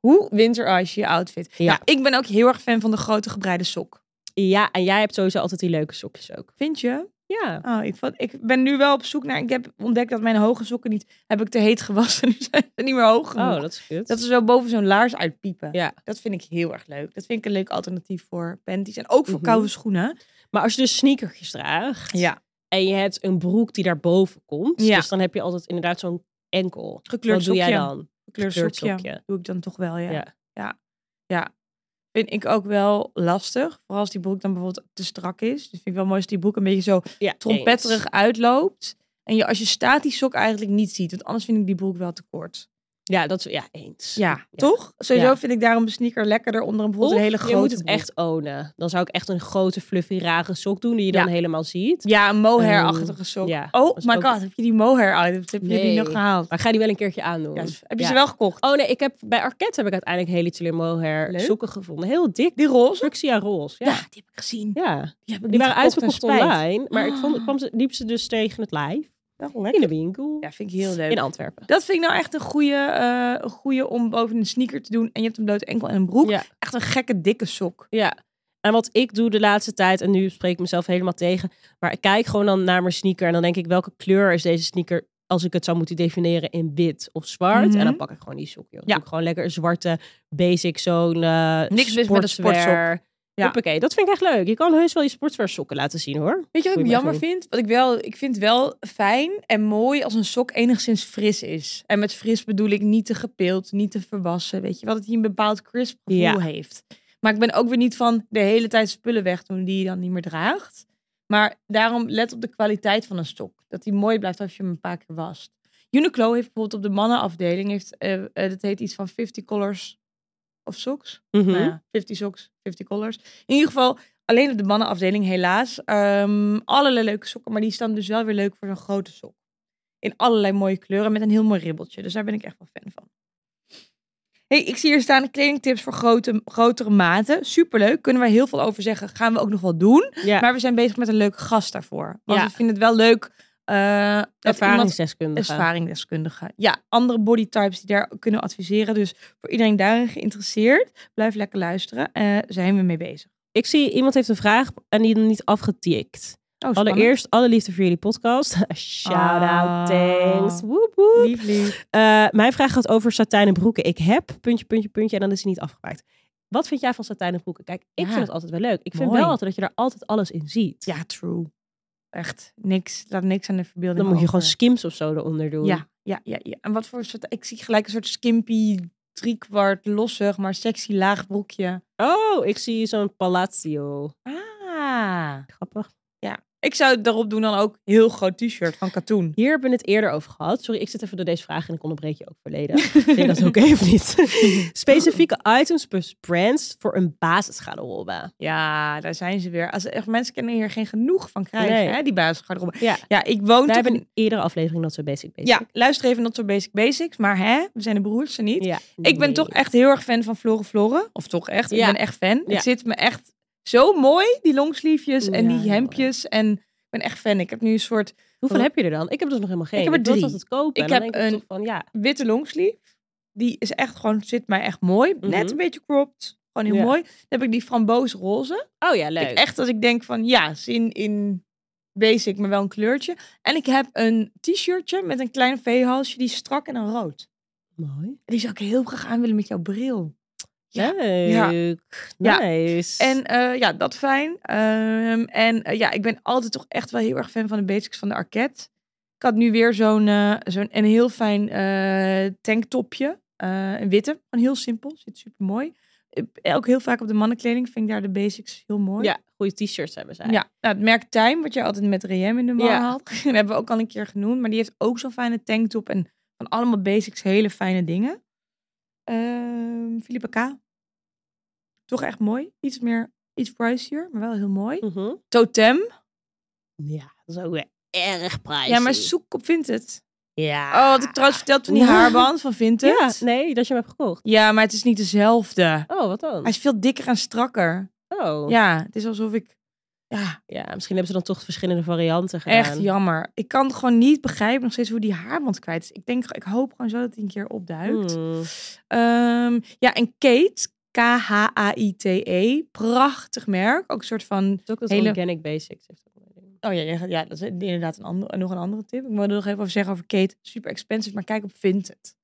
Speaker 1: Hoe winterize je je outfit?
Speaker 2: Ja.
Speaker 1: Ja. ik ben ook heel erg fan van de grote gebreide sok.
Speaker 2: Ja, en jij hebt sowieso altijd die leuke sokjes ook.
Speaker 1: Vind je?
Speaker 2: Ja.
Speaker 1: Oh, ik, vond- ik ben nu wel op zoek naar... Ik heb ontdekt dat mijn hoge sokken niet... Heb ik te heet gewassen. *laughs* Nu zijn ze niet meer hoog genoeg.
Speaker 2: Oh, dat is goed.
Speaker 1: Dat ze zo boven zo'n laars uitpiepen.
Speaker 2: Ja.
Speaker 1: Dat vind ik heel erg leuk. Dat vind ik een leuk alternatief voor panties. En ook voor
Speaker 2: Mhm.
Speaker 1: koude schoenen.
Speaker 2: Maar als je dus sneakertjes draagt.
Speaker 1: Ja.
Speaker 2: En je hebt een broek die daarboven komt.
Speaker 1: Ja.
Speaker 2: Dus dan heb je altijd inderdaad zo'n enkel.
Speaker 1: Gekleurd
Speaker 2: Wat doe jij
Speaker 1: sokje.
Speaker 2: dan?
Speaker 1: Kleur
Speaker 2: Gekleurd
Speaker 1: sokje.
Speaker 2: sokje.
Speaker 1: Doe ik dan toch wel, ja.
Speaker 2: Ja.
Speaker 1: ja. Ja. Vind ik ook wel lastig. Vooral als die broek dan bijvoorbeeld te strak is. Dus vind ik wel mooi als die broek een beetje zo
Speaker 2: Ja,
Speaker 1: trompetterig
Speaker 2: eens.
Speaker 1: uitloopt. En je, als je staat die sok eigenlijk niet ziet. Want anders vind ik die broek wel te kort.
Speaker 2: Ja, dat is ja, eens.
Speaker 1: Ja, toch? Sowieso
Speaker 2: Ja.
Speaker 1: vind ik daarom een sneaker lekkerder onder een
Speaker 2: Of
Speaker 1: bijvoorbeeld een hele grote
Speaker 2: je moet het
Speaker 1: broek.
Speaker 2: echt ownen. Dan zou ik echt een grote fluffy rare sok doen die je dan
Speaker 1: Ja.
Speaker 2: helemaal ziet.
Speaker 1: Ja, een mohair-achtige sok.
Speaker 2: ja, dat
Speaker 1: oh
Speaker 2: is
Speaker 1: my
Speaker 2: ook-
Speaker 1: god, heb je die mohair items? Heb je
Speaker 2: Nee.
Speaker 1: die nog gehaald?
Speaker 2: Maar ga die wel een keertje aandoen.
Speaker 1: Ja, dus heb je
Speaker 2: Ja.
Speaker 1: ze wel gekocht?
Speaker 2: Oh nee, ik heb bij Arquette heb ik uiteindelijk hele chille mohair
Speaker 1: Leuk.
Speaker 2: sokken gevonden. Heel dik.
Speaker 1: Die roze?
Speaker 2: Fuxia roze.
Speaker 1: Ja,
Speaker 2: Ja.
Speaker 1: die heb ik gezien.
Speaker 2: ja.
Speaker 1: Die, heb ik
Speaker 2: Die
Speaker 1: niet
Speaker 2: waren
Speaker 1: gekocht en
Speaker 2: uitverkocht
Speaker 1: spijt.
Speaker 2: online. Maar ik vond,
Speaker 1: Ah.
Speaker 2: kwam ze, liep ze dus tegen het live.
Speaker 1: Wel
Speaker 2: In
Speaker 1: lekker.
Speaker 2: de winkel.
Speaker 1: Ja, vind ik heel leuk.
Speaker 2: In Antwerpen.
Speaker 1: Dat vind ik nou echt een goede, eh, een goede om boven een sneaker te doen. En je hebt een blote enkel en een broek.
Speaker 2: Ja.
Speaker 1: Echt een gekke dikke sok.
Speaker 2: Ja. En wat ik doe de laatste tijd, en nu spreek ik mezelf helemaal tegen. Maar ik kijk gewoon dan naar mijn sneaker. En dan denk ik, welke kleur is deze sneaker als ik het zou moeten definiëren in wit of zwart?
Speaker 1: Mhm.
Speaker 2: En dan pak ik gewoon die sok. Joh. Dan
Speaker 1: Ja.
Speaker 2: doe ik gewoon lekker een zwarte, basic, zo'n eh
Speaker 1: Niks mis met een sportsok.
Speaker 2: sportswear.
Speaker 1: Ja.
Speaker 2: Hoppakee, dat vind ik echt leuk. Je kan heus wel je sportswear sokken laten zien hoor.
Speaker 1: Weet je wat ik
Speaker 2: Moet je maar
Speaker 1: jammer
Speaker 2: doen.
Speaker 1: vind? Wat ik, wel, ik vind wel fijn en mooi als een sok enigszins fris is. En met fris bedoel ik niet te gepild, niet te verwassen. Weet je wel, dat hij een bepaald crisp gevoel
Speaker 2: Ja.
Speaker 1: heeft. Maar ik ben ook weer niet van de hele tijd spullen wegdoen die je dan niet meer draagt. Maar daarom let op de kwaliteit van een stok. Dat die mooi blijft als je hem een paar keer wast. Uniqlo heeft bijvoorbeeld op de mannenafdeling, heeft, eh, eh, dat heet iets van 50 colors of socks.
Speaker 2: Mhm.
Speaker 1: Nou ja, 50 socks, 50 colors. In ieder geval, alleen op de mannenafdeling helaas. Ehm allerlei leuke sokken, maar die staan dus wel weer leuk voor zo'n grote sok. In allerlei mooie kleuren met een heel mooi ribbeltje. Dus daar ben ik echt wel fan van. hey, ik zie hier staan kledingtips voor grote, grotere maten. Superleuk, kunnen wij heel veel over zeggen. Gaan we ook nog wel doen.
Speaker 2: Ja.
Speaker 1: Maar we zijn bezig met een leuke gast daarvoor. Want
Speaker 2: Ja.
Speaker 1: we vinden het wel leuk eh, dat iemand
Speaker 2: Ervaringsdeskundige.
Speaker 1: ervaringsdeskundige. Ja, andere bodytypes die daar kunnen adviseren. Dus voor iedereen daarin geïnteresseerd, blijf lekker luisteren. Eh, zijn we mee bezig.
Speaker 2: Ik zie iemand heeft een vraag en die niet afgetikt.
Speaker 1: Oh, spannend.
Speaker 2: Allereerst alle liefde voor jullie podcast. *laughs* Shout
Speaker 1: Ah.
Speaker 2: out, thanks. Woep woep.
Speaker 1: Lief, lief.
Speaker 2: Eh, mijn vraag gaat over satijnen broeken. Ik heb puntje, puntje, puntje en dan is hij niet afgemaakt. Wat vind jij van satijnen broeken? Kijk, ik
Speaker 1: Ja.
Speaker 2: vind het altijd wel leuk. Ik vind
Speaker 1: Mooi.
Speaker 2: wel altijd dat je daar altijd alles in ziet.
Speaker 1: Ja, true. Echt niks. Laat niks aan de verbeelding.
Speaker 2: dan moet je
Speaker 1: over.
Speaker 2: gewoon skims of zo eronder doen.
Speaker 1: Ja, ja, ja, ja. En wat voor soort. Ik zie gelijk een soort skimpy, driekwart, lossig, maar sexy laag broekje.
Speaker 2: Oh, ik zie zo'n palazzo.
Speaker 1: Ah.
Speaker 2: Grappig.
Speaker 1: Ik zou daarop doen dan ook heel groot t-shirt van katoen.
Speaker 2: Hier hebben we het eerder over gehad. Sorry, ik zit even door deze vraag en ik onderbreek je ook
Speaker 1: *laughs*
Speaker 2: verleden. Vind je dat oké of niet? Specifieke items plus brands voor een basisgarderobe.
Speaker 1: Ja, daar zijn ze weer. Als, echt, mensen kunnen hier geen genoeg van krijgen,
Speaker 2: Nee.
Speaker 1: hè, die basisgarderobe.
Speaker 2: Ja.
Speaker 1: ja, ik woon
Speaker 2: Wij
Speaker 1: toch...
Speaker 2: hebben in eerdere aflevering dat zo basic basic.
Speaker 1: Ja, luister even not zo basic basics, maar hè, we zijn de broers, ze niet.
Speaker 2: Ja,
Speaker 1: Ik ben
Speaker 2: nee.
Speaker 1: toch echt heel erg fan van Floren Floren. Of toch echt, ik
Speaker 2: Ja.
Speaker 1: ben echt fan.
Speaker 2: Ja.
Speaker 1: Het zit me echt zo mooi, die longsleevejes en
Speaker 2: Ja,
Speaker 1: die
Speaker 2: heel
Speaker 1: hemdjes. En ik ben echt fan. Ik heb nu een soort
Speaker 2: Hoeveel heb je er dan? Ik heb dus nog helemaal geen.
Speaker 1: Ik heb er
Speaker 2: wil
Speaker 1: drie.
Speaker 2: dat het
Speaker 1: Ik
Speaker 2: kopen. en dan
Speaker 1: heb
Speaker 2: denk ik
Speaker 1: een-
Speaker 2: toch van ja.
Speaker 1: witte longsleeve. Die is echt gewoon, zit mij echt mooi. Net
Speaker 2: Mhm.
Speaker 1: een beetje cropped. Gewoon heel
Speaker 2: Ja.
Speaker 1: mooi. Dan heb ik die framboos roze.
Speaker 2: Oh ja,
Speaker 1: Ik echt als ik denk van ja, zin in basic, maar wel een kleurtje. En ik heb een t-shirtje met een klein veehalsje, die is strak en een rood.
Speaker 2: Mooi.
Speaker 1: Die zou ik heel graag aan willen met jouw bril. Ja.
Speaker 2: Leuk.
Speaker 1: Ja.
Speaker 2: Nice.
Speaker 1: En eh, ja, dat fijn. Ehm, en eh, ja, ik ben altijd toch echt wel heel erg fan van de basics van de Arquette. Ik had nu weer zo'n eh, zo'n een heel fijn eh, tanktopje. eh, een witte. Gewoon heel simpel. Zit super mooi. Ook heel vaak op de mannenkleding vind ik daar de basics heel mooi.
Speaker 2: ja, goede t-shirts hebben zij.
Speaker 1: Ja, nou, het merk Time, wat jij altijd met Riem in de man
Speaker 2: Ja.
Speaker 1: *laughs* haalt. Dat hebben we ook al een keer genoemd. Maar die heeft ook zo'n fijne tanktop. En van allemaal basics hele fijne dingen. Ehm Philippe K. Toch echt mooi. Iets meer, iets pricier, maar wel heel mooi.
Speaker 2: Mhm.
Speaker 1: Totem.
Speaker 2: Ja, dat is ook weer erg prijzig.
Speaker 1: Ja, maar zoek op Vinted.
Speaker 2: Ja.
Speaker 1: Oh, wat ik trouwens vertelde van die haarband van
Speaker 2: Ah. Ja,
Speaker 1: Vinted. Ja,
Speaker 2: nee, dat je hem hebt gekocht.
Speaker 1: maar het is niet dezelfde.
Speaker 2: Oh, wat dan?
Speaker 1: Hij is veel dikker en strakker.
Speaker 2: Oh. Ja.
Speaker 1: Ja, het is alsof ik... Ja,
Speaker 2: misschien hebben ze dan toch verschillende varianten gedaan.
Speaker 1: Echt jammer. Ik kan gewoon niet begrijpen nog steeds hoe die haarband kwijt is. Ik denk, ik hoop gewoon zo dat hij een keer opduikt.
Speaker 2: Hmm.
Speaker 1: Ehm, ja, en Kate, K-H-A-I-T-E, E, prachtig merk. Ook een soort van...
Speaker 2: Het is ook dat
Speaker 1: Hele-
Speaker 2: organic basics. heeft ook wel een ding.
Speaker 1: Oh ja, jij gaat- ja dat is inderdaad een ander, nog een andere tip. Ik wil er nog even over zeggen over Kate. Super expensive, maar kijk op Vinted.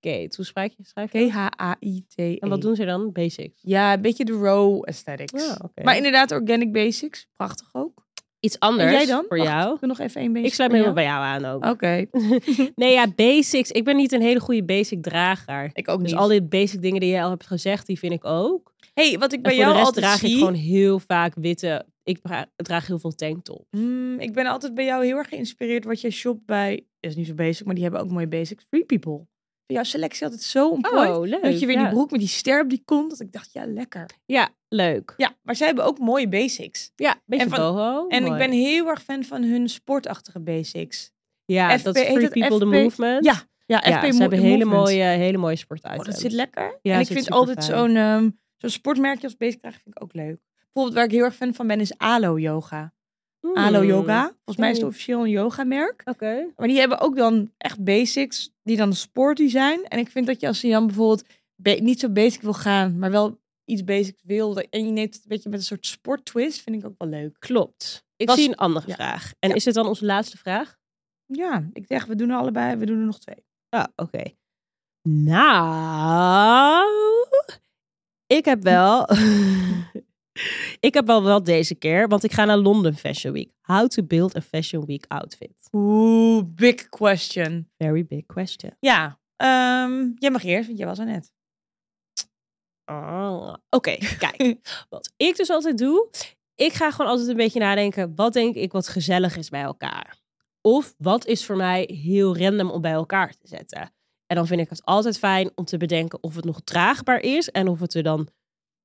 Speaker 2: Kate, hoe schrijf je? Schrijf je? dat?
Speaker 1: K-H-A-I-T-E.
Speaker 2: En wat doen ze dan? Basics.
Speaker 1: E. Ja, een beetje de raw aesthetics.
Speaker 2: Ja, oké.
Speaker 1: Maar inderdaad, organic basics. Prachtig ook.
Speaker 2: Iets anders
Speaker 1: en jij dan?
Speaker 2: voor
Speaker 1: Wacht,
Speaker 2: jou.
Speaker 1: Ik wil nog even één basic
Speaker 2: Ik sluit me
Speaker 1: voor
Speaker 2: helemaal
Speaker 1: jou.
Speaker 2: bij jou aan ook.
Speaker 1: Oké.
Speaker 2: Nee, ja, basics. Ik ben niet een hele goede basic drager.
Speaker 1: Ik ook niet.
Speaker 2: Dus al die basic dingen die jij al hebt gezegd, die vind ik ook.
Speaker 1: hey, wat ik bij
Speaker 2: en voor
Speaker 1: jou
Speaker 2: de rest
Speaker 1: altijd
Speaker 2: draag
Speaker 1: zie...
Speaker 2: ik gewoon heel vaak witte. Ik dra- draag heel veel tanktop.
Speaker 1: Hmm, ik ben altijd bij jou heel erg geïnspireerd wat jij shopt bij. Is niet zo basic, maar die hebben ook mooie basics. Free People. Bij jouw selectie altijd zo on point.
Speaker 2: Oh, leuk.
Speaker 1: dat je weer
Speaker 2: ja.
Speaker 1: die broek met die ster op die kont. Dat ik dacht, ja, lekker.
Speaker 2: Ja, leuk.
Speaker 1: Ja, maar zij hebben ook mooie basics.
Speaker 2: Ja, beetje
Speaker 1: En van-
Speaker 2: boho.
Speaker 1: en ik
Speaker 2: mooi.
Speaker 1: ben heel erg fan van hun sportachtige basics.
Speaker 2: Ja,
Speaker 1: FP
Speaker 2: dat is
Speaker 1: heet
Speaker 2: Free
Speaker 1: het
Speaker 2: People The
Speaker 1: FP?
Speaker 2: Movement.
Speaker 1: Ja, ja, FP
Speaker 2: Ja, ze
Speaker 1: Mo-
Speaker 2: hebben hele
Speaker 1: Movement.
Speaker 2: mooie, hele mooie sportitems.
Speaker 1: Oh, dat zit lekker.
Speaker 2: eh, Ja,
Speaker 1: en ik
Speaker 2: zit
Speaker 1: vind
Speaker 2: super
Speaker 1: altijd
Speaker 2: fijn.
Speaker 1: zo'n ehm, zo'n sportmerkje als basic dragen vind ik ook leuk. Bijvoorbeeld waar ik heel erg fan van ben is Alo Yoga.
Speaker 2: Hmm.
Speaker 1: Alo Yoga. Volgens mij is het
Speaker 2: Hmm.
Speaker 1: officieel een yogamerk.
Speaker 2: Oké.
Speaker 1: Maar die hebben ook dan echt basics die dan sporty zijn. En ik vind dat je als je dan bijvoorbeeld ba- niet zo basic wil gaan, maar wel iets basics wil. dat- En je neemt het een beetje met een soort sporttwist, vind ik ook wel leuk.
Speaker 2: Klopt. Ik
Speaker 1: Was-
Speaker 2: zie een andere
Speaker 1: Ja.
Speaker 2: vraag. En is dit dan onze laatste vraag?
Speaker 1: Ja, ik zeg, we doen er allebei, we doen er nog twee.
Speaker 2: Ah, oké. Nou, ik heb wel. *laughs* ik heb wel wel deze keer, want ik ga naar London Fashion Week. How to build a Fashion Week outfit.
Speaker 1: Oeh, big question.
Speaker 2: Very big question.
Speaker 1: Ja, ehm, jij mag eerst, want jij was er net.
Speaker 2: Ah, Oké,
Speaker 1: *laughs*
Speaker 2: kijk. Wat ik dus altijd doe, ik ga gewoon altijd een beetje nadenken. Wat denk ik wat gezellig is bij elkaar? Of wat is voor mij heel random om bij elkaar te zetten? En dan vind ik het altijd fijn om te bedenken of het nog draagbaar is en of het er dan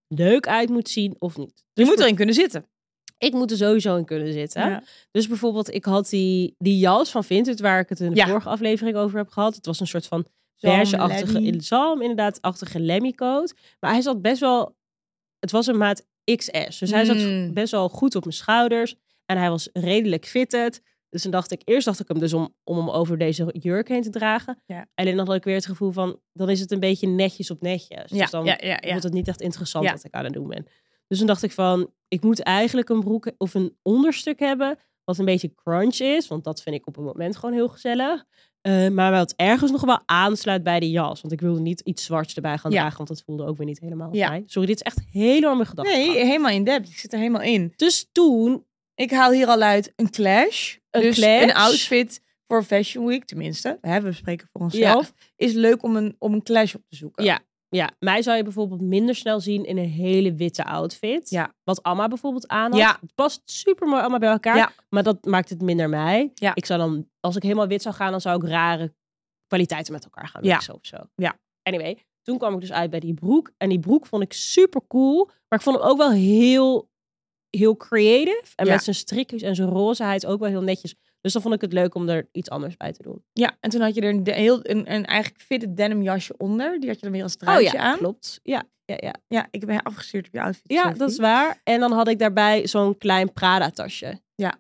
Speaker 2: leuk uit moet zien of niet. Dus
Speaker 1: Je moet erin kunnen zitten.
Speaker 2: Ik moet er sowieso in kunnen zitten.
Speaker 1: Ja.
Speaker 2: Dus bijvoorbeeld, ik had die, die jas van Vinted, waar ik het in de
Speaker 1: Ja.
Speaker 2: vorige aflevering over heb gehad. Het was een soort van
Speaker 1: Zalm,
Speaker 2: beige-achtige,
Speaker 1: lemmy.
Speaker 2: in- zalm inderdaad, achtige lemmycoat. Maar hij zat best wel, het was een maat XS. Dus hij zat
Speaker 1: Mm.
Speaker 2: best wel goed op mijn schouders. En hij was redelijk fitted. Dus toen dacht ik, eerst dacht ik hem dus om, om hem over deze jurk heen te dragen.
Speaker 1: Ja.
Speaker 2: En dan had ik weer het gevoel van, dan is het een beetje netjes op netjes.
Speaker 1: Ja,
Speaker 2: dus dan
Speaker 1: ja, ja, ja.
Speaker 2: wordt het niet echt interessant
Speaker 1: Ja.
Speaker 2: wat ik aan het doen ben. Dus toen dacht ik van, ik moet eigenlijk een broek of een onderstuk hebben wat een beetje crunch is, want dat vind ik op het moment gewoon heel gezellig. Eh, maar wat ergens nog wel aansluit bij de jas, want ik wilde niet iets zwarts erbij gaan
Speaker 1: Ja.
Speaker 2: dragen, want dat voelde ook weer niet helemaal
Speaker 1: Ja.
Speaker 2: fijn. Sorry, dit is echt helemaal mijn gedachte.
Speaker 1: Nee, eh helemaal in depth. Ik zit er helemaal in.
Speaker 2: Dus toen,
Speaker 1: Ik haal hier al uit een clash.
Speaker 2: Een
Speaker 1: dus
Speaker 2: clash?
Speaker 1: een outfit voor Fashion Week, tenminste. Hè, we spreken voor onszelf. Is leuk om een, om een clash op te zoeken.
Speaker 2: Ja. ja, mij zou je bijvoorbeeld minder snel zien in een hele witte outfit.
Speaker 1: Ja.
Speaker 2: Wat Amma bijvoorbeeld aan had.
Speaker 1: Ja.
Speaker 2: Het past super mooi allemaal bij elkaar,
Speaker 1: Ja.
Speaker 2: maar dat maakt het minder mij.
Speaker 1: Ja.
Speaker 2: Ik zou dan, als ik helemaal wit zou gaan, dan zou ik rare kwaliteiten met elkaar gaan
Speaker 1: Ja.
Speaker 2: mixen of zo.
Speaker 1: Ja.
Speaker 2: Anyway, toen kwam ik dus uit bij die broek. En die broek vond ik super cool. Maar ik vond hem ook wel heel, heel creative. En
Speaker 1: Ja.
Speaker 2: met zijn strikjes en zijn rozeheid ook wel heel netjes. Dus dan vond ik het leuk om er iets anders bij te doen.
Speaker 1: Ja, en toen had je er een, de- heel, een, een eigenlijk fitte denim jasje onder. Die had je dan weer als truitje
Speaker 2: Truitje
Speaker 1: aan.
Speaker 2: klopt. Ja, ja, ja.
Speaker 1: Oh Ja, ik ben afgestuurd op je outfit.
Speaker 2: ja
Speaker 1: Sophie.
Speaker 2: dat is waar. En dan had ik daarbij zo'n klein Prada-tasje.
Speaker 1: Ja.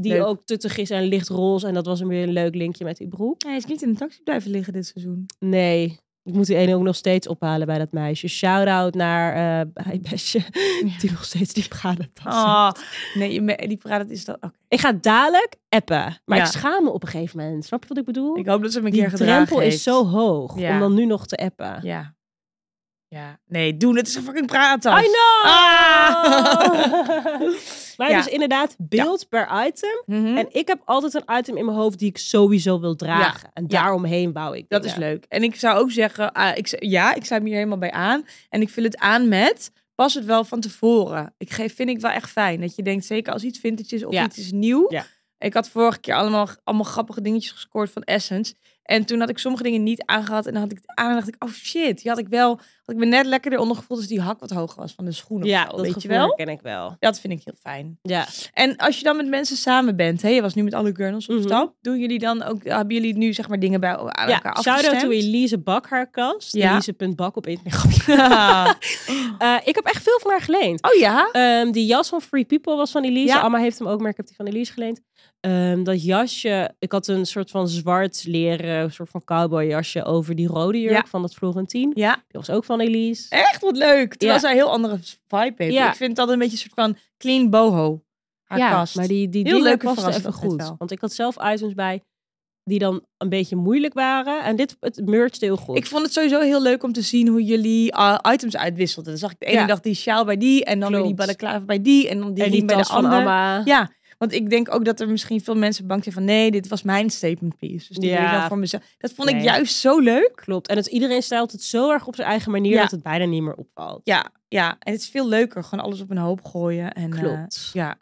Speaker 2: Die
Speaker 1: Leuk.
Speaker 2: ook tuttig is en lichtroze. En dat was weer een leuk linkje met die broek.
Speaker 1: Hij is niet in de taxi blijven liggen dit *laughs* seizoen.
Speaker 2: Nee, ik moet die ene ook nog steeds ophalen bij dat meisje. Shout-out naar eh bij Besje, *laughs* die nog steeds die prada tas heeft.
Speaker 1: Oh, nee, je me- die praat is dat. oké.
Speaker 2: Ik ga dadelijk appen, maar
Speaker 1: Ja.
Speaker 2: ik schaam me op een gegeven moment. Snap je wat ik bedoel?
Speaker 1: Ik hoop dat ze hem een
Speaker 2: die
Speaker 1: keer gedragen
Speaker 2: drempel is
Speaker 1: heeft.
Speaker 2: zo hoog
Speaker 1: Ja.
Speaker 2: om dan nu nog te appen.
Speaker 1: Ja. Ja. Nee, doen. Het is een fucking praat.
Speaker 2: I know!
Speaker 1: Ah!
Speaker 2: *laughs*
Speaker 1: *laughs*
Speaker 2: maar
Speaker 1: Ja.
Speaker 2: dus inderdaad, beeld per item.
Speaker 1: Mhm.
Speaker 2: En ik heb altijd een item in mijn hoofd die ik sowieso wil dragen. En
Speaker 1: Ja.
Speaker 2: daaromheen bouw ik
Speaker 1: Dat is
Speaker 2: dingen.
Speaker 1: leuk. En ik zou ook zeggen, ah, ik, z- ja, ik sta hem hier helemaal bij aan. En ik vul het aan met, pas het wel van tevoren. Ik geef, vind ik wel echt fijn. Dat je denkt, zeker als iets vintage is of
Speaker 2: Ja.
Speaker 1: iets is nieuw.
Speaker 2: Ja.
Speaker 1: Ik had vorige keer allemaal, allemaal grappige dingetjes gescoord van Essence. En toen had ik sommige dingen niet aangehad. En dan had ik het aan en dacht ik, oh shit. Die had ik wel, had ik me net lekkerder ondergevoeld als die hak wat hoger was van de schoenen.
Speaker 2: Ja,
Speaker 1: of zo,
Speaker 2: dat
Speaker 1: weet
Speaker 2: gevoel
Speaker 1: je wel.
Speaker 2: ken ik wel.
Speaker 1: Dat vind ik heel fijn.
Speaker 2: Ja.
Speaker 1: En als je dan met mensen samen bent, hè, je was nu met alle girls op
Speaker 2: Mhm.
Speaker 1: stap. Doen jullie dan ook, hebben jullie nu zeg maar dingen bij aan elkaar
Speaker 2: Ja,
Speaker 1: afgestemd?
Speaker 2: shout-out to Elise Bak, haar kast.
Speaker 1: Ja.
Speaker 2: Elise.bak op Instagram. *laughs* Eh, ik heb echt veel van haar geleend.
Speaker 1: oh ja?
Speaker 2: Ehm, die jas van Free People was van Elise.
Speaker 1: Ja.
Speaker 2: Amma heeft hem ook, maar ik heb die van Elise geleend. Ehm, dat jasje, ik had een soort van zwart leren, soort van cowboy jasje over die rode jurk
Speaker 1: Ja.
Speaker 2: van dat Florentien.
Speaker 1: Ja,
Speaker 2: Die was ook van Elise.
Speaker 1: echt wat leuk. Terwijl
Speaker 2: Ja.
Speaker 1: zij een heel andere vibe heeft.
Speaker 2: Ja.
Speaker 1: Ik vind dat een beetje een soort van clean boho. Haar
Speaker 2: ja,
Speaker 1: kast.
Speaker 2: maar die, die
Speaker 1: Heel
Speaker 2: dingen
Speaker 1: leuke
Speaker 2: pasten even
Speaker 1: verrassing altijd
Speaker 2: goed.
Speaker 1: wel.
Speaker 2: Want ik had zelf items bij die dan een beetje moeilijk waren. En dit, het merged heel goed.
Speaker 1: Ik vond het sowieso heel leuk om te zien hoe jullie eh, items uitwisselden. Dan zag ik de ene
Speaker 2: Ja.
Speaker 1: dag die sjaal bij die en dan weer die
Speaker 2: Klopt.
Speaker 1: balaclava bij die en dan die,
Speaker 2: en die
Speaker 1: riem bij
Speaker 2: tas
Speaker 1: de
Speaker 2: van
Speaker 1: ander.
Speaker 2: Amma.
Speaker 1: Ja, want ik denk ook dat er misschien veel mensen bang zijn van nee, dit was mijn statement piece. Dus die wil ik
Speaker 2: Ja.
Speaker 1: dan voor mezelf. Dat vond ik
Speaker 2: Nee.
Speaker 1: juist zo leuk.
Speaker 2: Klopt. En het, iedereen stelt het zo erg op zijn eigen manier
Speaker 1: Ja.
Speaker 2: dat het bijna niet meer opvalt.
Speaker 1: Ja, ja, en het is veel leuker. Gewoon alles op een hoop gooien. En, eh,
Speaker 2: Klopt.
Speaker 1: ja.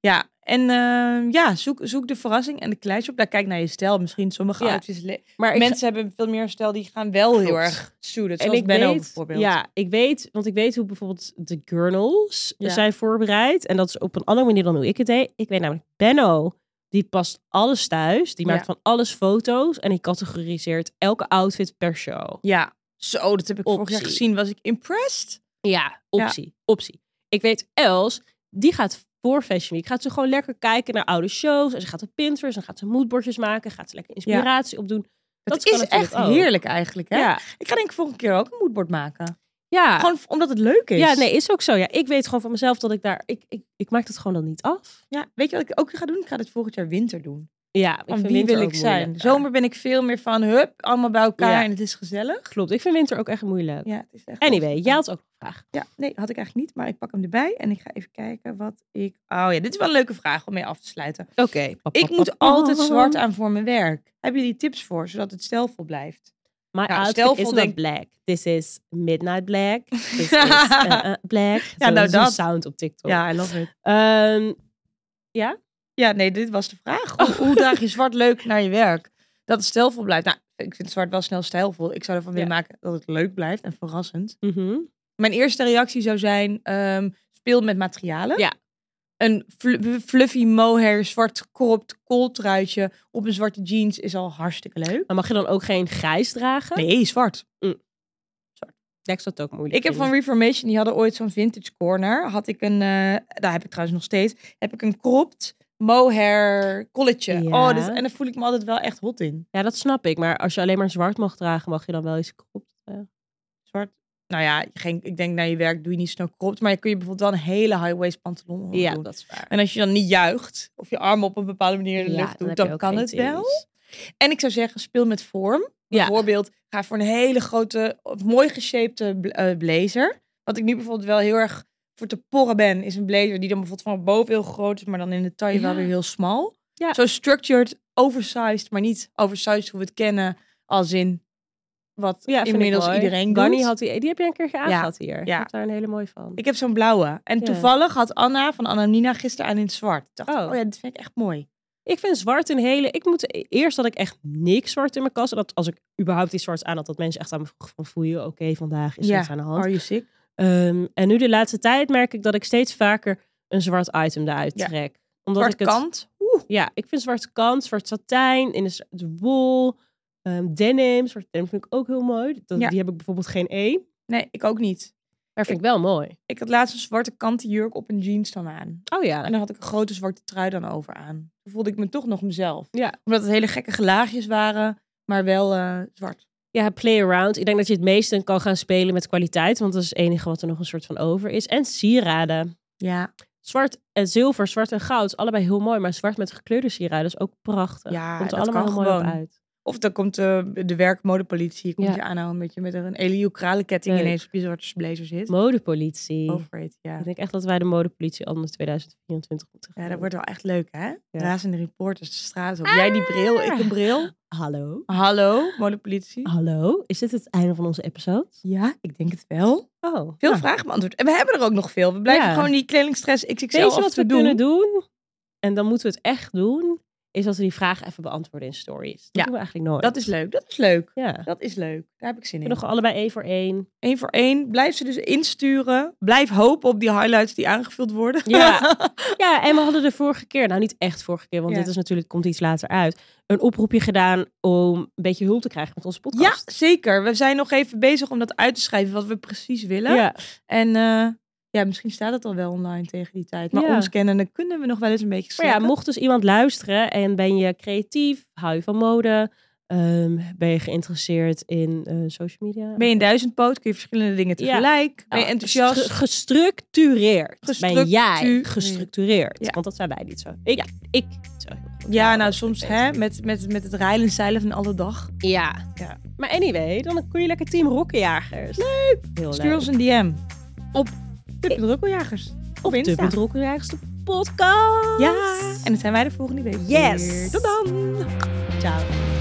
Speaker 1: ja, en eh, ja, zoek, zoek de verrassing en de kleins op. Daar kijk naar je stijl. Misschien sommige
Speaker 2: Ja.
Speaker 1: outfits. le-
Speaker 2: maar ik-
Speaker 1: Mensen hebben veel meer stijl die gaan wel heel
Speaker 2: Klopt.
Speaker 1: erg suited. Zoals Benno bijvoorbeeld.
Speaker 2: Ja, ik weet, want ik weet hoe bijvoorbeeld de journals
Speaker 1: Ja.
Speaker 2: zijn voorbereid. En dat is op een andere manier dan hoe ik het deed. Ik weet namelijk, Benno, die past alles thuis. Die
Speaker 1: Ja.
Speaker 2: maakt van alles foto's. En die categoriseert elke outfit per show.
Speaker 1: ja. Zo, dat heb ik vorig jaar
Speaker 2: Optie.
Speaker 1: gezien. Was ik impressed?
Speaker 2: Ja, optie. Optie. Ik weet, Els, die gaat voor Fashion Week. Gaat ze gewoon lekker kijken naar oude shows. En ze gaat op Pinterest. En gaat ze moodbordjes maken. Gaat ze lekker inspiratie opdoen.
Speaker 1: Dat,
Speaker 2: kan
Speaker 1: is
Speaker 2: natuurlijk
Speaker 1: echt
Speaker 2: ook.
Speaker 1: heerlijk eigenlijk. Hè?
Speaker 2: Ja.
Speaker 1: Ik ga denk ik volgende keer ook een moodboard maken.
Speaker 2: ja.
Speaker 1: Gewoon v- omdat het leuk is.
Speaker 2: Ja, nee, is ook zo. Ja, ik weet gewoon van mezelf dat ik daar... Ik, ik, ik maak dat gewoon dan niet af.
Speaker 1: Ja, weet je wat ik ook ga doen? Ik ga dit volgend jaar winter doen.
Speaker 2: Ja, ik
Speaker 1: Van
Speaker 2: vind
Speaker 1: wie
Speaker 2: winter
Speaker 1: wil
Speaker 2: ook
Speaker 1: ik zijn?
Speaker 2: moeilijk.
Speaker 1: Zomer ben ik veel meer van hup, allemaal bij elkaar
Speaker 2: Ja.
Speaker 1: en het is gezellig.
Speaker 2: Klopt, ik vind winter ook echt moeilijk.
Speaker 1: Ja, het is echt
Speaker 2: Anyway,
Speaker 1: lastig.
Speaker 2: jij had ook een vraag.
Speaker 1: Ja, nee, had ik eigenlijk niet, maar ik pak hem erbij en ik ga even kijken wat ik... Oh ja, dit is wel een leuke vraag om mee af te sluiten.
Speaker 2: Oké.
Speaker 1: Ik moet altijd
Speaker 2: *laughs*
Speaker 1: zwart aan voor mijn werk. Hebben jullie tips voor, zodat het stijlvol blijft?
Speaker 2: My
Speaker 1: Ja,
Speaker 2: outfit
Speaker 1: stel
Speaker 2: is
Speaker 1: vol
Speaker 2: not
Speaker 1: denk-
Speaker 2: black. This is midnight
Speaker 1: *laughs*
Speaker 2: black. This is eh, eh, black. Zo,
Speaker 1: nou
Speaker 2: dat is een
Speaker 1: dat.
Speaker 2: sound op TikTok.
Speaker 1: I love it.
Speaker 2: Ehm,
Speaker 1: Ja, nee, dit was de vraag. Hoe,
Speaker 2: *laughs*
Speaker 1: hoe draag je zwart leuk naar je werk? Dat het stijlvol blijft. Nou, ik vind zwart wel snel stijlvol. Ik zou ervan willen
Speaker 2: Ja.
Speaker 1: maken dat het leuk blijft en verrassend.
Speaker 2: mhm.
Speaker 1: Mijn eerste reactie zou zijn: ehm, speel met materialen.
Speaker 2: Ja.
Speaker 1: Een fl- fluffy mohair, zwart cropped kooltruitje op een zwarte jeans is al hartstikke leuk.
Speaker 2: Maar mag je dan ook geen grijs dragen?
Speaker 1: Nee, zwart.
Speaker 2: Dat is dat ook moeilijk.
Speaker 1: Ik heb van
Speaker 2: vinden.
Speaker 1: Reformation, die hadden ooit zo'n vintage corner. Had ik een, eh, daar heb ik trouwens nog steeds, heb ik een cropped mohair colletje.
Speaker 2: Ja.
Speaker 1: Oh, dit, en daar voel ik me altijd wel echt hot in.
Speaker 2: Ja, dat snap ik. Maar als je alleen maar zwart mag dragen, mag je dan wel eens eh, krop.
Speaker 1: Zwart. Nou ja, geen, ik denk naar je werk doe je niet snel cropped. Maar je kun je bijvoorbeeld wel een hele high-waist pantalon
Speaker 2: Ja,
Speaker 1: doen.
Speaker 2: Oh, dat is waar.
Speaker 1: En als je dan niet juicht of je armen op een bepaalde manier in de lucht doet, dan, kan het wel. En ik zou zeggen, speel met vorm.
Speaker 2: Ja.
Speaker 1: Bijvoorbeeld, ga voor een hele grote, of mooi geshapte bl- eh, blazer. Wat ik nu bijvoorbeeld wel heel erg voor te porren ben, is een blazer die dan bijvoorbeeld van boven heel groot is, maar dan in de taille wel
Speaker 2: Ja.
Speaker 1: weer heel smal.
Speaker 2: Ja.
Speaker 1: Zo structured, oversized, maar niet oversized hoe we het kennen, als in wat
Speaker 2: Ja, vind ik
Speaker 1: inmiddels
Speaker 2: mooi.
Speaker 1: iedereen doet.
Speaker 2: Barney had die, die heb jij een keer aangehad hier.
Speaker 1: ja.
Speaker 2: Ik heb daar een hele mooie van.
Speaker 1: Ik heb zo'n blauwe. En
Speaker 2: Ja.
Speaker 1: toevallig had Anna van Anna Nina gisteren aan in het zwart. Ik dacht,
Speaker 2: Oh.
Speaker 1: oh. ja, dit vind ik echt mooi.
Speaker 2: Ik vind zwart een hele. Ik moet eerst had ik echt niks zwart in mijn kast. En dat als ik überhaupt iets zwarts aan had, dat mensen echt aan me vroegen van voel je oké vandaag is er
Speaker 1: Ja.
Speaker 2: iets aan de hand.
Speaker 1: Are you sick?
Speaker 2: Ehm, en nu de laatste tijd merk ik dat ik steeds vaker een zwart item eruit
Speaker 1: Ja.
Speaker 2: trek. Omdat
Speaker 1: Zwart
Speaker 2: ik het,
Speaker 1: kant.
Speaker 2: Ja, ik vind zwarte kant, zwart satijn, in de z- de wol, ehm, denim. Zwart denim vind ik ook heel mooi. Dat,
Speaker 1: Ja.
Speaker 2: Die heb ik bijvoorbeeld geen E.
Speaker 1: Nee, ik ook niet.
Speaker 2: Maar vind ik wel mooi.
Speaker 1: Ik had laatst een zwarte kanten jurk op een jeans dan aan.
Speaker 2: Oh ja.
Speaker 1: En dan had ik een grote zwarte trui dan over aan. Toen voelde ik me toch nog mezelf.
Speaker 2: Ja.
Speaker 1: Omdat het hele gekke gelaagjes waren, maar wel eh, zwart.
Speaker 2: Ja, play around. Ik denk dat je het meeste kan gaan spelen met kwaliteit. Want dat is het enige wat er nog een soort van over is. En sieraden.
Speaker 1: Ja,
Speaker 2: Zwart en zilver, zwart en goud. is Allebei heel mooi. Maar zwart met gekleurde sieraden is ook prachtig.
Speaker 1: Ja,
Speaker 2: Komt er
Speaker 1: dat
Speaker 2: allemaal
Speaker 1: kan
Speaker 2: heel mooi op
Speaker 1: gewoon.
Speaker 2: uit.
Speaker 1: Of dan komt eh, de werkmodepolitie, komt
Speaker 2: Ja.
Speaker 1: je aanhouden met je met een Elio kralenketting
Speaker 2: Leuk.
Speaker 1: ineens op je zwarte blazer zit.
Speaker 2: Modepolitie.
Speaker 1: Over it, Oh, ja.
Speaker 2: Ik denk echt dat wij de modepolitie al in 2024 moeten gaan
Speaker 1: Ja, dat
Speaker 2: doen.
Speaker 1: wordt wel echt leuk, hè? Razende reporters de straat op. Jij die bril, ik een bril.
Speaker 2: Hallo?
Speaker 1: Ah. Hallo, modepolitie.
Speaker 2: Hallo? Is dit het einde van onze episode?
Speaker 1: Ah. Ja, ik denk het wel.
Speaker 2: Oh.
Speaker 1: Veel
Speaker 2: nou,
Speaker 1: vragen beantwoord. En we hebben er ook nog veel. We blijven
Speaker 2: Ja.
Speaker 1: gewoon die kledingstress XXL
Speaker 2: Weet je
Speaker 1: af
Speaker 2: wat
Speaker 1: te
Speaker 2: we
Speaker 1: doen.
Speaker 2: kunnen doen? En dan moeten we het echt doen. Is dat we die vragen even beantwoorden in stories. Dat
Speaker 1: Ja.
Speaker 2: doen we eigenlijk nooit.
Speaker 1: Dat is leuk, dat is leuk.
Speaker 2: Ja.
Speaker 1: Dat is leuk. Daar heb ik zin in.
Speaker 2: Nog allebei één voor één.
Speaker 1: Eén voor één. Blijf ze dus insturen. Blijf hopen op die highlights die aangevuld worden.
Speaker 2: Ja. Ja, en we hadden de vorige keer, nou niet echt vorige keer, want
Speaker 1: Ja.
Speaker 2: dit is natuurlijk, komt iets later uit, een oproepje gedaan om een beetje hulp te krijgen met onze
Speaker 1: *laughs* ja,
Speaker 2: podcast.
Speaker 1: zeker. We zijn nog even bezig om dat uit te schrijven wat we precies willen.
Speaker 2: ja.
Speaker 1: En eh, ja, misschien staat het al wel online tegen die tijd. Maar
Speaker 2: Ja.
Speaker 1: ons kennende kunnen we nog wel eens een beetje
Speaker 2: Maar ja,
Speaker 1: slacken.
Speaker 2: mocht dus iemand luisteren en ben je creatief, hou je van mode, ehm, ben je geïnteresseerd in eh, social media?
Speaker 1: Ben je een duizendpoot, kun je verschillende dingen
Speaker 2: Ja.
Speaker 1: tegelijk. Ben je
Speaker 2: Ja,
Speaker 1: enthousiast.
Speaker 2: gestru- Ah, dus gestructureerd. Ben jij
Speaker 1: Gestructureerd.
Speaker 2: gestructureerd?
Speaker 1: Ja.
Speaker 2: Want dat zijn wij niet zo. Ik, ik niet zo heel goed.
Speaker 1: Ja,
Speaker 2: Nou,
Speaker 1: nou
Speaker 2: dat
Speaker 1: soms
Speaker 2: weet ik.
Speaker 1: hè, met, met, met het rijlen en zeilen van alle dag.
Speaker 2: Ja.
Speaker 1: Ja.
Speaker 2: Maar anyway, dan kun je lekker team rokkenjagers. Leuk. Heel
Speaker 1: Stuur
Speaker 2: leuk.
Speaker 1: ons een DM. Op de Drukkeljagers. Op
Speaker 2: de
Speaker 1: Insta.
Speaker 2: bedrokkenjagste podcast.
Speaker 1: Ja, en dan zijn wij de volgende week.
Speaker 2: Yes.
Speaker 1: weer. Tot dan.
Speaker 2: Ciao.